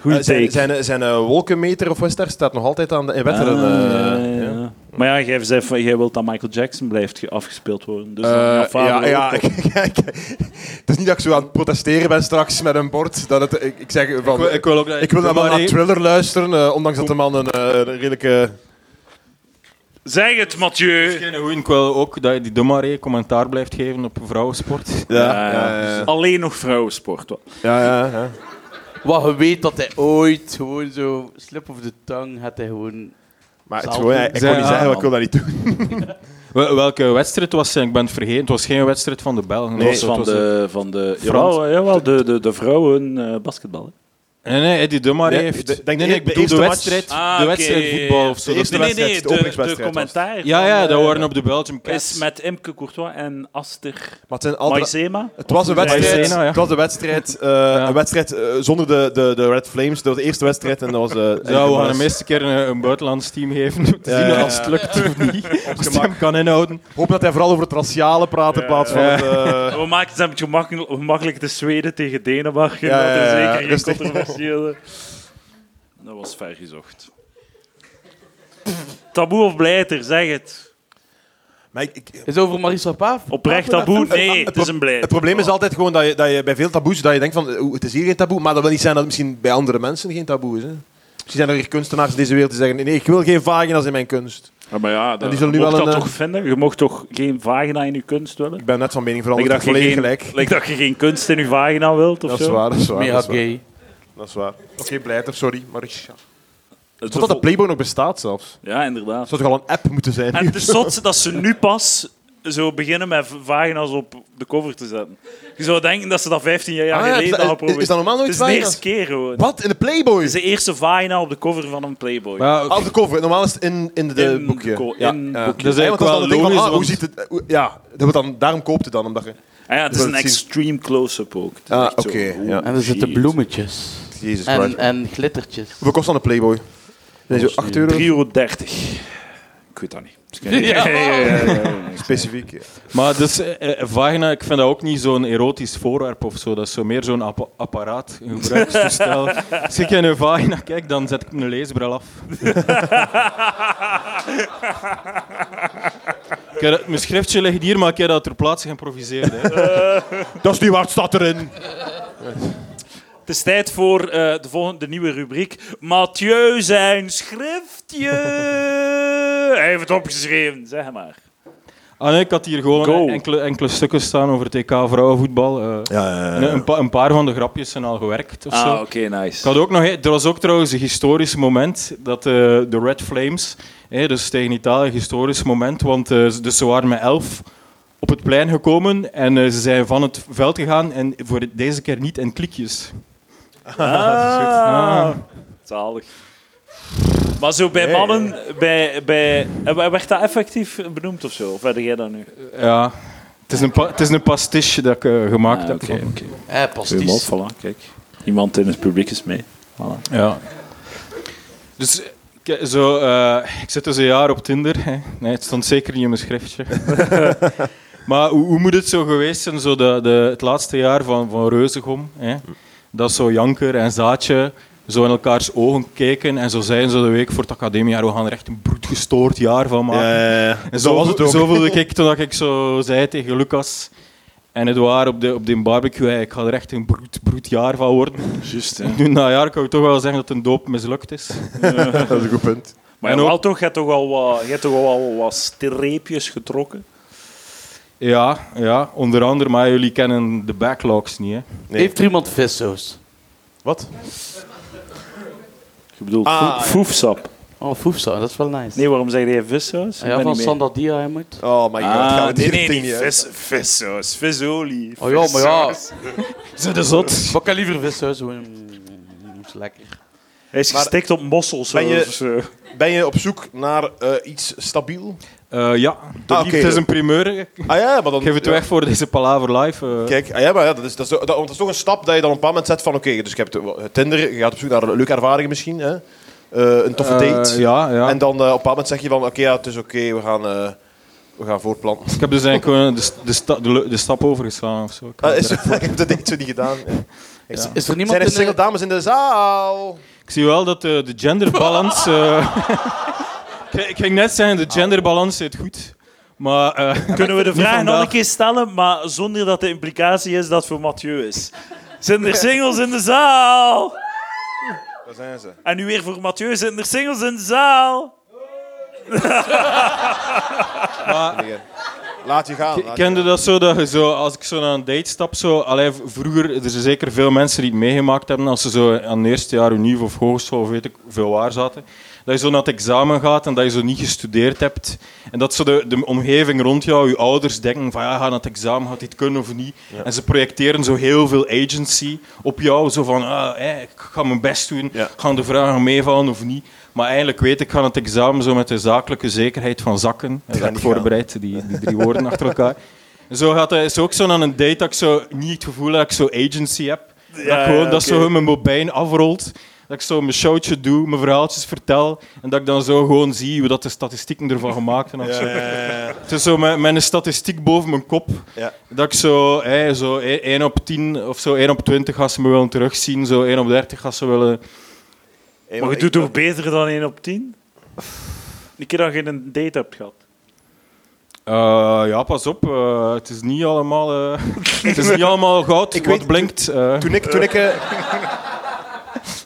B: Goeie
C: Eh, zijn
B: take.
C: zijn, zijn eh, wolkenmeter of Wester staat nog altijd aan de, in Wetteren.
B: Ah,
C: eh,
B: ja,
C: ja.
B: ja. Maar ja, jij zei van, jij wilt dat Michael Jackson blijft ge- afgespeeld worden. Dus dan
C: Eh,
B: gaat Fabio
C: ja, ja,
B: ook op.
C: [LAUGHS] kijk, het is niet dat ik zo aan het protesteren ben straks met een bord. Dat het, ik, ik zeg van, ik,
D: wil ook dat
C: wil dan wel naar
D: Marie-
C: Thriller luisteren, eh, ondanks dat de man een, eh, een redelijke...
B: Zeg het, Mathieu.
D: Geen goeie, Ik wil ook dat die Domaré commentaar blijft geven op vrouwensport. [LAUGHS]
B: Ja, dus Alleen nog vrouwensport. hoor.
C: ja, ja, ja.
F: Wat je weet dat hij ooit gewoon zo... Slip of the tongue had hij gewoon...
C: Maar het is
F: Zal
C: gewoon,
F: doen.
C: ik kon niet
D: Ja,
C: zeggen,
D: man.
C: ik wil dat niet doen.
D: Wel- Welke wedstrijd was het? Ik ben het vergeten. Het was geen wedstrijd van de Belgen.
B: Nee,
D: Het was-
B: van
D: het was een-
B: de, van de,
D: Frans.
B: jawel, jawel, de, de, de vrouwen eh, basketbal. hè.
D: Nee, nee, Eddie Dumare
C: Nee,
D: heeft...
C: de- denk
D: nee,
C: de-
D: nee, ik
C: de
D: bedoel de,
C: eerste
D: wedstrijd,
B: Ah,
D: de
B: oké.
D: wedstrijd voetbal of zo.
B: Nee,
D: Dat
C: eerste
B: nee,
D: is-
C: wedstrijd,
B: nee,
C: de
B: de, de,
C: openingswedstrijd was.
B: commentaar.
D: ja,
B: van,
D: ja, dat
B: eh,
D: waren op de Belgium
B: Is
D: Cats.
B: met Imke Courtois en Aster
C: Maar het, zijn altijd,
B: Maizema.
C: het was een wedstrijd,
D: Maizena, ja.
C: het was een wedstrijd, eh, een wedstrijd eh, zonder de, de, de Red Flames. Dat was de eerste wedstrijd en dat was... eh,
D: Zou we gaan hem
C: was-
D: eerst een keer een, een buitenlands team geven. [LAUGHS] Te
C: Ja,
D: zien
C: ja,
D: als het lukt of
C: [LAUGHS]
D: niet. Als hij hem kan inhouden.
C: Ik hoop dat hij vooral over het raciale praat in plaats van
D: Ja.
C: het...
B: [LAUGHS]
C: eh,
B: We maken het een beetje gemakkelijk, gemakkelijk de Zweden tegen Denemarken.
C: Ja,
B: dat is
C: ja, ja,
B: zeker geen
C: rustig.
B: controversiële. Dat was ver gezocht. Taboe of blijter, zeg het.
C: maar ik- ik-
F: Is over Marissa Paaf?
B: Oprecht taboe? Nee, het is een blijter.
C: het probleem is altijd gewoon dat je, dat je bij veel taboes dat je denkt van eh, oeh, het is hier geen taboe, maar dat wil niet zijn dat het misschien bij andere mensen geen taboe is. Hè? Misschien zijn er hier kunstenaars in deze wereld die zeggen nee, ik wil geen vagina's in mijn kunst.
A: Ja, maar ja,
C: En
A: dat,
C: die zullen
B: Je
C: nu
B: mocht
C: wel
B: dat
C: een... eh,
B: toch vinden? Je mocht toch geen vagina in je kunst willen?
C: Ik ben net van mening
B: Ik
C: veranderd,
B: dacht, je
C: volledig
B: geen,
C: gelijk.
B: like dat je geen kunst in je vagina wilt of
C: Dat
B: zo.
C: is waar, dat is waar.
F: Mega
C: dat is waar.
F: gay.
C: Dat is waar. Oké, blijter, sorry. Maar ik...
B: Het
C: Totdat de
B: bevol-
C: Playboy nog bestaat zelfs.
B: Ja, inderdaad.
C: Dat zou toch al een app moeten zijn?
B: En het is zot dat ze nu pas zo beginnen met vagina's op de cover te zetten. Je zou denken dat ze dat 15 jaar
C: Ah, ja,
B: geleden
C: is dat-
B: al geprobeerd
C: is dat normaal nooit
B: Het is de
C: vagina's?
B: eerste keer gewoon.
C: Wat? In de Playboy?
B: Het is de eerste vagina op de cover van een Playboy.
D: Maar,
C: Ah, Op de cover. Normaal is het in, in de, de
B: In
C: boekje.
B: de co- in
C: ja.
B: boekje. Dus
D: Dat is
C: Ja, want
D: eigenlijk
C: dan
D: wel
C: het ding
D: logisch.
C: van, ah, hoe
D: want-
C: ziet het... hoe- Ja, dat wordt dan, daarom koopt het dan. Omdat je,
B: Ah ja, het is
C: wil
B: een
C: het zien.
B: extreme close-up ook. Het is
C: ah,
B: echt
C: oké.
B: zo, oh,
C: ja.
F: En er zitten
B: shit.
F: bloemetjes.
C: Jezus Christ.
F: En, eh, en glittertjes.
C: Hoeveel kost dan een Playboy? Nee, zo 8
B: 3,30
C: euro
B: euro. Ik weet dat niet. Ja, ja, ja.
C: specifiek. [LAUGHS] ja.
D: maar dus, eh, eh, vagina, ik vind dat ook niet zo'n erotisch voorwerp of zo. Dat is zo meer zo'n appa- apparaat, een gebruikstoestel. Als ik in een vagina kijk, dan zet ik een leesbril
C: [LAUGHS]
D: af. Ik heb dat- Mijn schriftje ligt hier, maar ik heb dat ter plaatse geïmproviseerd. Hè.
C: Dat is niet waar, het staat erin.
B: Het is tijd voor eh, de volgende de nieuwe rubriek. Mathieu zijn schriftje. [LAUGHS] Hij heeft het opgeschreven, zeg maar.
D: Ah nee, ik had hier
B: Go.
D: gewoon enkele, enkele stukken staan over TK vrouwenvoetbal. eh. En een, pa- een paar van de grapjes zijn al gewerkt
B: Ah,
D: of zo. Ik
B: nice.
D: had ook nog, e- er was ook trouwens een historisch moment dat eh, de Red Flames, hè, dus tegen Italië, een historisch moment, want eh, ze- dus ze waren met elf op het plein gekomen en eh, ze zijn van het veld gegaan en voor de- deze keer niet in klikjes.
B: Ah, zalig. Maar zo bij mannen, bij, bij, eh, werd dat effectief benoemd of zo? Of werd jij dat nu?
D: Ja, het is een, pa- het is een pastiche dat ik eh, gemaakt heb.
B: Ah, oké. oké.
F: Eh, pasties.
B: voilà, kijk. Iemand in het publiek is mee.
D: Ja. Dus eh, ik, zo, eh, ik zit dus een jaar op Tinder. Hè. Nee, het stond zeker niet in mijn schriftje. [LAUGHS] maar hoe, hoe moet het zo geweest zijn, zo de, de, het laatste jaar van, van Reuzegom? Hè? Dat zo Janker en Zaatje zo in elkaars ogen keken en zo zeiden ze de week voor het academiejaar, we gaan er echt een bloedgestoord jaar van maken. En zo, was het ook. Zo voelde ik toen dat ik zo zei tegen Lucas en Edouard op de, op de barbecue, hey, ik ga er echt een broed, broedjaar van worden.
A: juist. hè.
D: En Nu na een jaar kan ik toch wel zeggen dat een doop mislukt is.
C: dat is een goed punt.
B: Maar
D: En
B: ja,
D: ook-
B: wel toch, je hebt toch al wat, je hebt toch al wat- wat streepjes getrokken?
D: Ja, ja onder andere, maar jullie kennen de backlogs niet. Hè?
F: Heeft er iemand vissaus?
C: Wat?
B: Je bedoelt
C: Ah,
B: foe- foefsap.
F: Oh, foefsaus, dat is wel nice.
B: Nee, waarom zeg je vissaus? Ik
F: ja,
B: ben
F: van
B: niet mee.
F: Sandadia, hij moet.
C: Oh my god,
B: Ah,
C: gaat het
B: nee,
C: hier
B: nee,
C: ding
B: niet
C: niet, hè?
B: vis, vissaus, visolie.
F: Oh ja, maar ja.
D: Zit de zot?
F: Wat kan liever vissaus? Mm, is lekker.
B: Hij is gestikt op mossels.
C: Ben je-
B: of zo.
C: Ben je op zoek naar eh, iets stabiel?
D: Eh, ja, de
C: Ah, oké.
D: liefde is een primeur. Ik
C: [LAUGHS] Ah ja, maar dan...
D: geef het
C: ja.
D: weg voor deze Palaver Live. eh.
C: Kijk, ah ja, maar ja, dat, is, dat, is, dat, want dat is toch een stap dat je dan op een bepaald moment zet van oké, dus je hebt eh, Tinder, je gaat op zoek naar leuke ervaringen misschien, hè? Eh, een toffe
D: Eh,
C: date.
D: ja, ja.
C: En dan eh, op een bepaald moment zeg je van oké, ja, het is oké, we gaan... eh, we gaan voortplanten. [LAUGHS]
D: Ik heb dus eigenlijk gewoon de, sta- de, sta- de, le- de stap overgeslaan of zo. Ik,
C: Ah,
D: weet
C: is, [LAUGHS]
D: het.
C: ik heb de date zo niet gedaan.
F: Is, is er
C: Zijn
F: niemand
C: er
F: in
C: single
F: de...
C: dames in de zaal?
D: Ik zie wel dat eh, de, de genderbalans. eh, [LAUGHS] ik, ik ging net zeggen, de genderbalans zit goed. Maar eh,
B: Kunnen we de
D: [LAUGHS] Niet
B: vraag nog een
D: vandaag.
B: keer stellen, maar zonder dat de implicatie is dat het voor Mathieu is? Zijn er singles in de zaal?
C: Daar zijn ze.
B: En nu weer voor Mathieu, zijn er singles in de zaal?
C: Laat je gaan. laat je
D: Kende dat zo dat je zo, als ik zo naar een date stap, zo, allee, v- vroeger, er zijn zeker veel mensen die het meegemaakt hebben als ze zo aan het eerste jaar unief of hogeschool of weet ik veel waar zaten, Dat je zo naar het examen gaat en dat je zo niet gestudeerd hebt. En dat zo de, de omgeving rond jou, je ouders, denken van ja, ga naar het examen, gaat dit kunnen of niet. En ze projecteren zo heel veel agency op jou. Zo van, ah, hè, ik ga mijn best doen,
C: Ja.
D: gaan de vragen meevallen of niet. Maar eigenlijk weet ik van het examen zo met de zakelijke zekerheid van zakken. Dat
C: gaat
D: heb ik
C: niet
D: voorbereid, die, die drie woorden achter elkaar. En Zo gaat hij, is ook zo aan een date dat ik zo niet het gevoel heb dat ik zo agency heb. dat ik gewoon, dat zo mijn mobijn afrolt. Dat ik zo mijn showtje doe, mijn verhaaltjes vertel. En dat ik dan zo gewoon zie hoe dat de statistieken ervan gemaakt zijn. of zo. Het is zo mijn, mijn statistiek boven mijn kop.
C: Ja.
D: Dat ik zo, hè, zo 1 op 10 of zo 1 op 20 gaan ze me willen terugzien. Zo 1 op 30 gaan ze willen...
G: Maar je doet toch beter dan 1 op 10? Een keer dat je een date hebt gehad.
D: Eh, ja, pas op. eh, het is niet allemaal, eh, [LAUGHS] het is niet allemaal goud
C: Ik
D: wat
C: weet-
D: blinkt. eh.
C: Toen ik, toen
G: [LAUGHS]
C: ik, eh,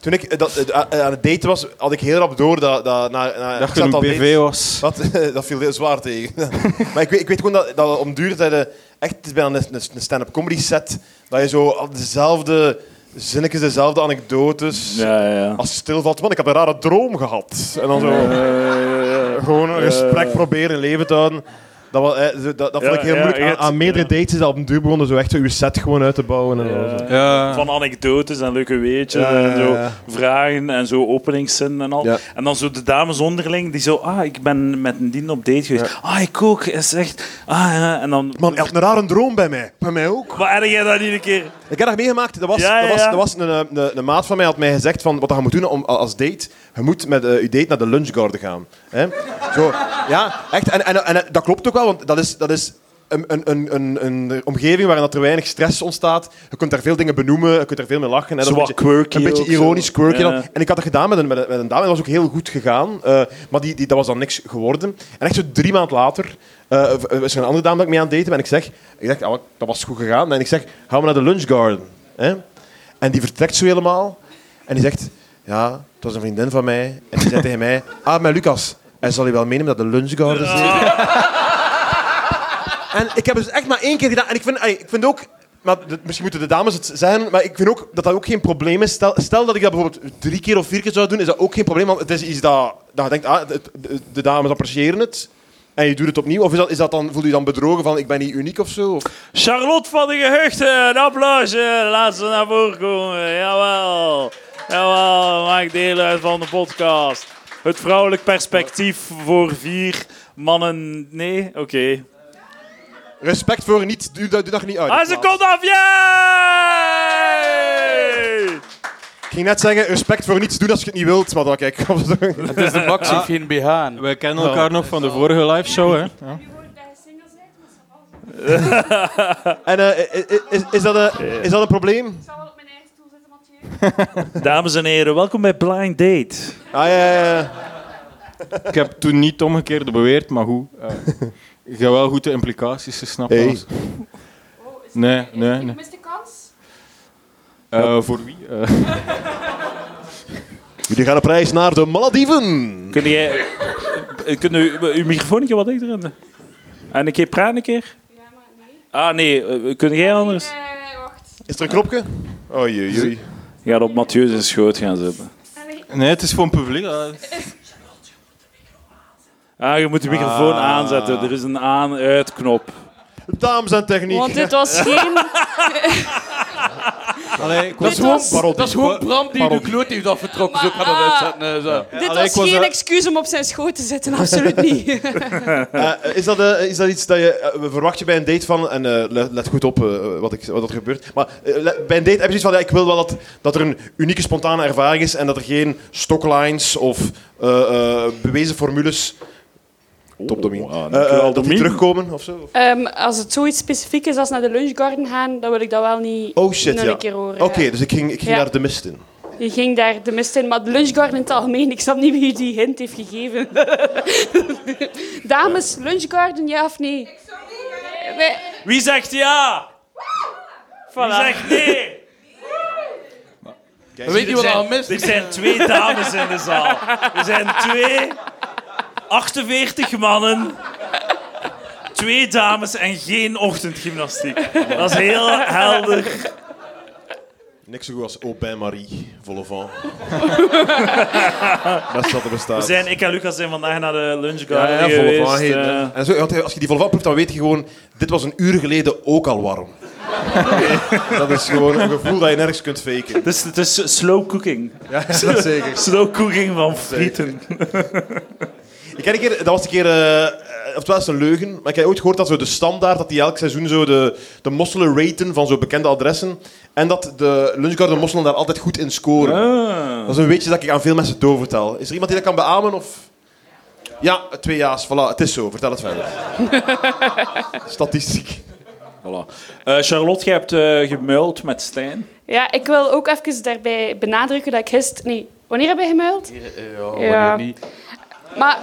C: toen ik eh, dat, eh, a- aan het daten was, had ik heel rap door dat... dat, na, na,
D: dacht
C: ik zat
D: dat het een
C: al
D: BV
C: dates.
D: was.
C: Dat, [LAUGHS] dat viel heel zwaar tegen. [LAUGHS] maar ik weet, ik weet gewoon dat, dat om duur dat je echt het is bijna een, een stand-up comedy set, dat je zo al dezelfde zinnetjes, dezelfde anekdotes,
G: Ja, ja.
C: als je stilvalt. Man, ik heb een rare droom gehad. En dan zo eh, gewoon een gesprek proberen in leven te houden. Dat, was, eh, zo- dat, dat vond
G: Ja,
C: ik heel
G: ja,
C: moeilijk.
G: je
C: Aan,
G: hebt-
C: aan meerdere dates is dat op een duur begonnen zo echt zo je set gewoon uit te bouwen. En zo.
D: Ja.
G: Ah. Van anekdotes en leuke weetjes
C: Ja, ja,
G: en zo
C: ja.
G: vragen en zo openingszinnen en al.
C: Ja.
G: En dan zo de dames onderling die zo, ah, ik ben met een dien op date geweest. Ah, ik ook. Is echt, ah, ja. En dan...
C: Man, echt een rare droom bij mij. Bij mij ook.
G: maar heb jij dat niet een keer?
C: Ik heb dat meegemaakt. Dat was,
G: Ja,
C: dat
G: ja,
C: was,
G: ja.
C: dat was een, eh, een, een maat van mij had mij gezegd van wat je moet doen om, als date. Je moet met eh, je date naar de lunchgarden gaan. Hè? Zo, ja, echt. En, en, en eh, dat klopt ook wel, want dat is, dat is een, een, een, een, een omgeving waarin dat er weinig stress ontstaat. Je kunt daar veel dingen benoemen, je kunt daar veel mee lachen. Hè? Dat is
G: Zo
C: een
G: wat
C: beetje,
G: quirky
C: Een beetje
G: ook, zo.
C: ironisch, quirky.
G: Ja.
C: dan. En ik had dat gedaan met een, met een, met een dame, dat was ook heel goed gegaan. eh, maar die, die, dat was dan niks geworden. En echt zo drie maanden later eh, v- eh, is er een andere dame dat ik mee aan het daten ben. En ik zeg, ik zeg ah, dat was goed gegaan. En ik zeg, gaan we naar de lunchgarden. Hè? En die vertrekt zo helemaal. En die zegt, ja, het was een vriendin van mij. En die zei tegen mij, [LAUGHS] ah, met Lucas. Hij zal je wel meenemen naar de lunchgarden. [LAUGHS] En ik heb het dus echt maar één keer gedaan. En ik vind, allee, ik vind ook... Maar dat- misschien moeten de dames het zeggen, maar ik vind ook dat dat ook geen probleem is. Stel, stel dat ik dat bijvoorbeeld drie keer of vier keer zou doen, is dat ook geen probleem. Want het is iets dat, dat je denkt, ah, het- de, de dames appreciëren het. En je doet het opnieuw. Of is dat, is dat dan, voel je je dan bedrogen van, ik ben niet uniek of zo? Of-
B: Charlotte van de Geheugden, een applausje. Laat ze naar voren komen. Jawel. Jawel, maak deel uit van de podcast. Het vrouwelijk perspectief voor vier mannen. Nee? Oké.
C: Respect voor niet, doe, dat- doe dat niet uit.
B: Ah, ze komt af! Yay!
C: Ik ging net zeggen, respect voor niets doen als je het niet wilt. Maar dan kijk, [LAUGHS]
F: Het is de max, heeft geen BH aan.
D: Wij kennen elkaar nog van de vorige liveshow, hè?
H: Je hoort bij single zijn, maar ça va, zo.
C: En eh, i- i- is, is, dat een, is dat een probleem?
H: ik zal wel op mijn eigen stoel zitten, Mathieu.
G: Dames en heren, welkom bij Blind Date.
C: Ah, ja, ja, ja.
D: Ik heb toen niet het omgekeerde beweerd, maar hoe? Eh, ik heb wel goed de implicaties gesnapt.
C: Hey.
D: alles.
H: Oh, is
D: Nee,
H: het-
D: nee,
H: ik
D: nee.
H: mis de kans.
D: Eh, voor wie? Eh,
C: Jullie gaan op reis naar de Malediven.
G: Kun jij... eh, Kun u, uw microfoon wat dichter in? En een keer praten een keer?
H: Ja, maar nee.
G: Ah nee, eh, kun jij anders?
H: Eh, wacht.
C: Is er een knopje? Oh jee, jee.
G: Je gaat op Mathieu zijn schoot gaan zitten.
H: Allee,
D: nee, het is voor een publiek. eh.
G: Ah, je moet de microfoon aanzetten. Er is een aan-uit-knop.
C: Dames en techniek.
I: Want dit
C: [LAUGHS]
I: was geen...
D: Allee, ik
F: Dat
D: was,
F: is,
I: Dit
F: gewoon,
I: was-
F: dat is gewoon Bram die de kloot heeft afgetrokken. Zo kan dat uitzetten. eh, zo.
I: Dit
D: Allee,
I: was
D: ik was,
I: geen
D: eh,
I: excuus om op zijn schoot te zitten, absoluut niet.
C: [LAUGHS] Eh, is, dat, eh, is dat iets dat je eh, verwacht je bij een date van? En eh, let, let goed op eh, wat, ik, wat er gebeurt. Maar eh, le- bij een date heb je zoiets van: ja, ik wil wel dat, dat er een unieke spontane ervaring is en dat er geen stocklines of eh, eh, bewezen formules. Top Domien.
G: ah,
C: Eh,
G: dankjewel,
C: eh, dat die
G: Domien.
C: terugkomen of zo?
I: Ehm, als het zoiets specifiek is als naar de lunchgarden gaan, dan wil ik dat wel niet
C: Oh shit,
I: nog
C: ja.
I: een keer horen.
C: Oké, dus ik ging, ik ging
I: Ja.
C: naar de mist in.
I: ja. Je ging daar de mist in, maar de lunchgarden in het algemeen, ik snap niet wie die hint heeft gegeven. [LAUGHS] Dames, lunchgarden, ja of nee? Eh, Wij-
B: Wie zegt ja? Wie zegt nee?
F: Weet je wat al mist?
B: Er zijn twee dames in de zaal. Er zijn twee, 48 mannen, twee dames en geen ochtendgymnastiek. Dat is heel helder.
C: Niks zo goed als Au Bain Marie, vol au vent. Best dat er bestaat.
B: We zijn, ik en Lucas zijn vandaag naar de lunch
C: ja, ja, vol au
B: geweest.
C: vent heen,
B: eh.
C: hè. En zo, want als je die vol au vent proeft, dan weet je gewoon... Dit was een uur geleden ook al [LAUGHS] warm. dat is gewoon een gevoel dat je nergens kunt faken.
B: Het is, het is slow cooking.
C: Ja, [LAUGHS] dat zeker.
B: Slow cooking van frieten.
C: Ik heb een keer, dat was een keer, eh, eh, oftewel is het een leugen, maar ik heb ooit gehoord dat zo de standaard, dat die elk seizoen zo de, de mosselen raten van zo bekende adressen. En dat de lunchgarden mosselen daar altijd goed in scoren. Dat is een weetje dat ik aan veel mensen doorvertel. Is er iemand die dat kan beamen? Of... Ja, twee ja's, voilà, het is zo, vertel het [LAUGHS] verder. Statistiek.
A: Voilà. Eh, Charlotte, jij hebt eh gemuild met Stijn.
I: Ja, ik wil ook even daarbij benadrukken dat ik gisteren... Nee, wanneer heb je gemuild?
F: eh, Ja,
I: Ja.
F: wanneer niet.
I: Maar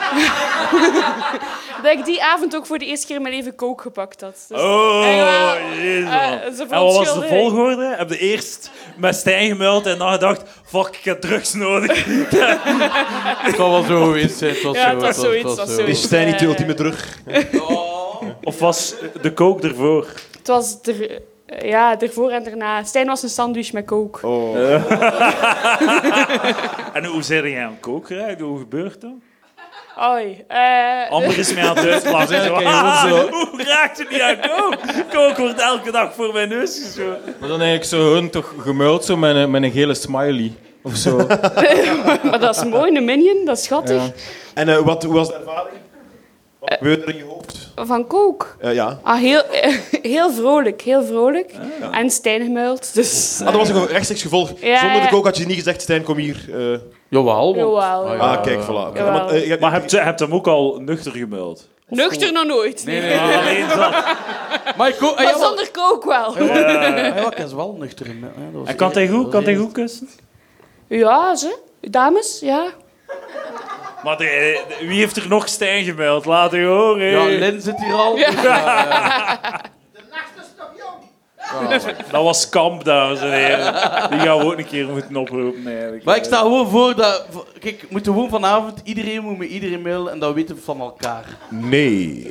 I: [LAUGHS] dat ik die avond ook voor de eerste keer in mijn leven kook gepakt had. Dus, eh,
B: Oh,
I: ja,
B: jezus.
I: eh,
B: man.
I: ze
B: en wat was de
I: verontschuldiging.
B: volgorde? Heb je eerst met Stijn gemuild en dan gedacht, fuck, ik heb drugs nodig.
F: Het kan wel zo geweest zijn. Het was
I: Ja,
F: zo,
I: het was
F: het
I: zoiets,
F: was
I: het was
F: zo.
I: zoiets.
C: Is Stijn niet de ultieme terug?
B: Of was de kook ervoor?
I: Het was er, ja, ervoor en daarna. Stijn was een sandwich met kook.
B: Oh. En hoe zei jij aan kook geraakt? Hoe gebeurt dat?
I: Oei. eh,
B: Amber is mij aan het uitlachen. Zo, "Ah, [LAUGHS] Hoe raakt u niet aan kook? Kook wordt elke dag voor mijn neus geschoven.
D: Maar dan eigenlijk zo hun toch gemuild zo met, een, met een gele smiley of
F: [LAUGHS]
D: zo.
I: maar dat is mooi, een minion, dat is schattig.
C: En eh, wat, hoe was de ervaring?
I: Eh.
C: Wat gebeurde er in je hoofd?
I: Van kook.
C: Eh, ja.
I: Ah, heel, [LAUGHS] heel vrolijk, heel vrolijk.
B: Ah,
I: En Stijn gemuild, dus...
C: Ah, dat was een ge- rechtstreeks gevolg.
I: Ja,
C: Zonder de
I: ja.
C: kook had je niet gezegd, Stijn, kom hier. eh.
B: Oh,
F: Jawel. want-
I: Jawel.
F: Ah, ja.
C: ah, kijk, voilà.
I: Jawel.
C: Maar, eh, je hebt-
B: Maar heb je hebt hem ook al nuchter gemuild?
I: Nuchter nog nooit.
F: Nee, nee, nee.
B: Alleen dat.
F: Maar ik ook... ah,
I: Maar
F: jawel.
I: zonder kook wel.
F: Ah, jawel, ik is wel nuchter. in, hè. Dat was
B: En kan hij goed? Kan hij goed kussen?
I: Ja, ze. Dames, ja.
B: Maar de- eh, de- wie heeft er nog Stijn gemuild? Laat u horen.
F: Ja, Lin zit hier al. dus, eh,
B: Dat was kamp, dames en heren. Die gaan we ook een keer moeten oproepen, eigenlijk.
F: Maar ik sta gewoon voor dat... voor- Kijk, we moeten gewoon vanavond... Iedereen moet met iedereen mailen en dat weten we van elkaar.
C: Nee.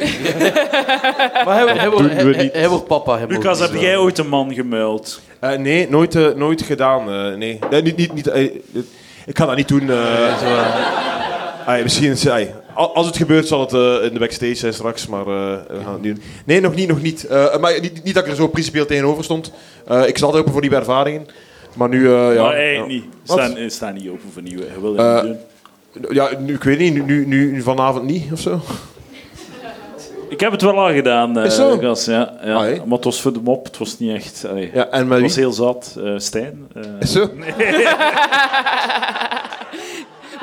F: Maar hij, hij, wordt-
C: doen we
F: hij- hij-
C: niet.
F: hij wordt papa. Hij
B: Lucas, heb jij ooit een man gemuild?
C: Eh, nee, nooit, eh, nooit gedaan. eh, nee. Nee, niet, niet, niet, eh, dit- ik ga dat niet doen. eh. Ai, misschien is- ai, al- als het gebeurt, zal het eh, in de backstage zijn straks. Maar eh, we gaan het niet doen. Nee, nog niet. Nog niet. Eh, maar niet, niet dat ik er zo principieel tegenover stond. Eh, ik zat altijd open voor nieuwe ervaringen. Maar nu, eh, ja.
B: maar eigenlijk
C: ja.
B: niet.
C: Wat?
B: Staan, eh, staan niet open voor nieuwe. Je wil
C: Eh,
B: het niet doen.
C: Ja, nu, ik weet niet. Nu, nu, nu nu vanavond niet of zo.
B: Ik heb het wel al gedaan, eh,
C: Is zo?
B: Lucas. Ja, ja.
C: Ah, hé.
B: maar het was voor de mop. Het was niet echt... allee.
C: Ja, en met
B: Het
C: wie?
B: was heel zat. eh, Stijn. eh.
C: Is zo?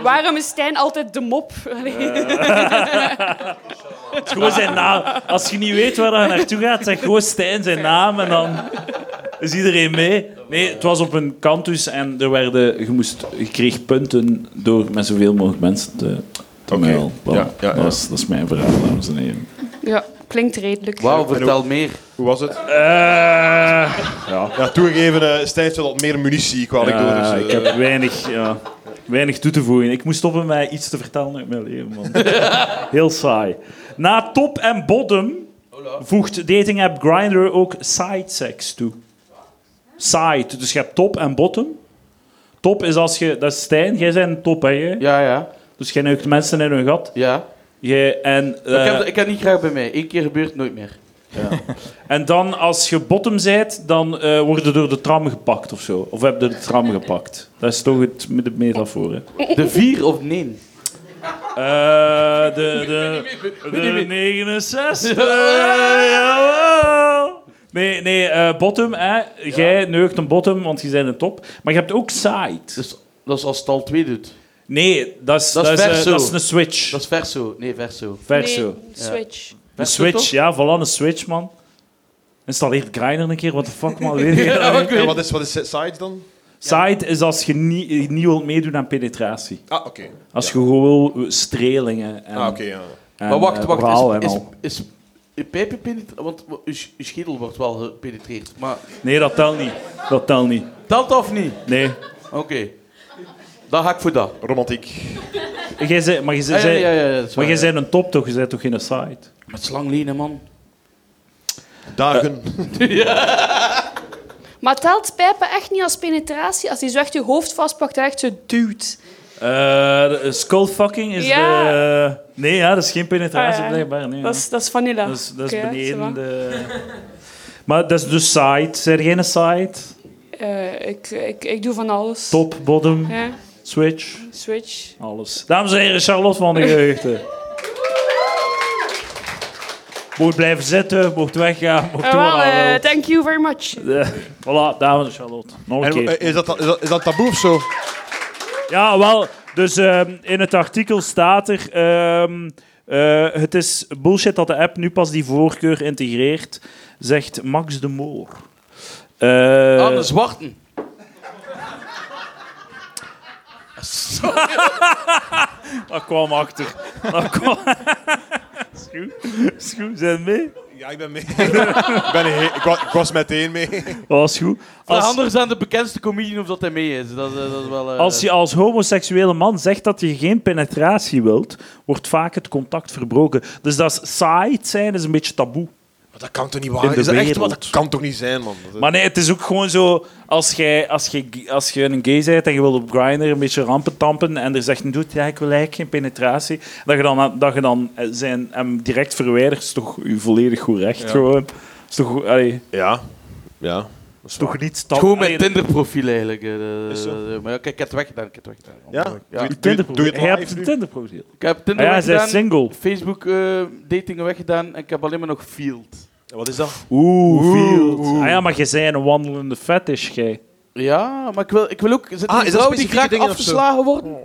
I: Waarom is Stijn altijd de mop? Allee.
B: Het is gewoon zijn naam. Als je niet weet waar je naartoe gaat, zeg gewoon Stijn zijn naam en dan is iedereen mee. Nee, het was op een kantus en er werden, je, moest, je kreeg punten door met zoveel mogelijk mensen te, te muilen. Voilà.
C: Ja, ja, ja.
B: Dat, is, dat is mijn verhaal, dames en heren.
I: Ja, klinkt redelijk.
F: Wauw, vertel meer.
C: Hoe was het? Ja, toegegeven, eh Stijn heeft wel wat meer munitie, kwam ik door.
B: Ja,
C: Dus, eh,
B: ik heb weinig, ja, weinig toe te voegen. Ik moest stoppen met iets te vertellen uit mijn leven,
F: [LAUGHS]
B: man. Heel saai. Na top en bottom voegt dating app Grindr ook side sex toe. Side, dus je hebt top en bottom. Top is als je, dat is Stijn, jij bent een top, hè? jij?
F: Ja, ja.
B: Dus jij neukt mensen in hun gat.
F: ja.
B: Jij, en, eh,
F: ik, heb, ik heb niet graag bij mij. Eén keer gebeurt nooit meer.
B: en dan als je bottom bent, dan eh word je door de tram gepakt of zo. Of heb je de tram gepakt. Dat is toch het, de metafoor, hè?
F: De vier of nee?
B: Eh, de, de, de 69. jawel. Nee, nee eh, bottom. Hè. Jij neukt een bottom, want je bent een top. Maar je hebt ook side.
F: Dus, dat is als het al twee doet.
B: Nee, dat is,
F: Dat
B: dat
F: is
B: is, eh,
F: verso.
B: dat is een switch.
F: Dat is verso. Nee, verso.
B: Verso.
I: Nee, switch.
B: Een
F: Verso,
B: switch,
F: toch?
B: ja, voilà, een switch, man. Installeer Grindr een keer, what the fuck,
F: [LAUGHS]
B: man. Weet je dat?
C: en wat is, wat is sides dan?
B: Side is als je niet niet wilt meedoen aan penetratie.
C: Ah, oké.
B: Als je gewoon wil eh, strelingen en,
C: Ah, oké, ja.
B: en,
F: Maar wacht,
B: eh,
F: wacht.
B: oraal
F: Is,
B: en
F: is,
B: al.
F: is, je pijp gepenetreerd? Want uw sch- uw schedel wordt wel gepenetreerd. Maar
B: Nee, dat telt niet. Dat telt niet.
F: telt dat of niet?
B: Nee.
F: Oké. Dan ga ik voor dat.
C: Romantiek.
B: Jij zei, maar je zei,
F: Ah, ja, ja, ja, ja, dat is
B: Dus maar jij
F: waar, ja.
B: zei een top toch? Je zei toch geen side?
F: Met slang lenen, man.
C: Dagen.
I: Maar telt pijpen echt niet als penetratie? Als hij zo echt je hoofd vastpakt en echt zo duwt.
B: Eh, skullfucking is
I: Ja.
B: de... Nee, ja, dat is geen penetratie
I: Ah, ja.
B: blijkbaar. Nee,
I: Dat,
B: ja.
I: is, dat is vanilla.
B: dat is, dat is
I: Oké, ja,
B: beneden
I: ça va.
B: de... Maar dat is de side. Zijn jij een side?
I: Eh, ik, ik, ik doe van alles.
B: Top, bottom,
I: Ja,
B: switch,
I: switch.
B: alles. Dames en heren, Charlotte van de Geheugden. Mocht blijven zitten, mocht weggaan, mocht
I: Eh,
B: doen wat
I: wel,
B: hij
I: eh,
B: wil.
I: thank you very much.
B: Eh, Voilà, dames en Charlotte. Nog een
C: En,
B: keer.
C: eh, is, dat, is, dat, is dat taboe of zo?
B: Ja, wel. Dus ehm, in het artikel staat er... ehm, eh, het is bullshit dat de app nu pas die voorkeur integreert, zegt Max de Moor. Eh,
F: Aan de zwarten.
B: dat kwam achter. Dat kwam... [LAUGHS] is goed. Is goed, zijn we mee?
C: Ja, ik ben mee. [LAUGHS] ik, ben he- ik, was, ik was meteen mee.
B: Dat was goed.
F: Als...
B: Als,
F: Anders aan de bekendste comedian of dat hij mee is. Dat, eh, dat is wel... eh,
B: als je als homoseksuele man zegt dat je geen penetratie wilt, wordt vaak het contact verbroken. Dus dat is saai zijn is een beetje taboe.
C: Maar dat kan toch niet
B: In
C: waar?
B: de
C: Is dat echt wat?
B: wereld.
C: Dat kan toch niet zijn, man? Dat-
B: Maar nee, het is ook gewoon zo, als jij als jij- als jij een gay bent en je wil op Grindr een beetje rampen tampen en er zegt een doet, ja, ik wil eigenlijk geen penetratie, dat je dan, dat je dan eh, zijn, hem direct verwijdert, is toch je volledig goed recht gewoon. Is toch, allee,
C: Ja. Ja.
B: is toch niet
F: het
B: stap.
F: is gewoon mijn
B: allee,
F: Tinder-profiel eigenlijk. eh, eh,
C: Is
F: eh, maar ja, kijk, ik heb het weggedaan. Ik heb het weggedaan.
C: Ja?
F: Ja.
C: Doe-
B: Tinder
C: doe- doe je het
B: Hij
C: live
B: hebt een
C: nu?
B: Tinder-profiel.
F: Ik heb
B: Ah
F: Tinder
B: ja, zij is
F: weggedaan,
B: single.
F: Facebook-datingen eh, weggedaan en ik heb alleen maar nog Field.
C: Wat is dat?
B: Oeh, Ah ja, maar je bent een wandelende fetish, jij.
F: Ja, maar ik wil, ik wil ook... Zit er
C: Ah,
F: een
C: is dat
F: vrouw die
C: specifieke
F: graag
C: dingen of zo?
F: afgeslagen worden?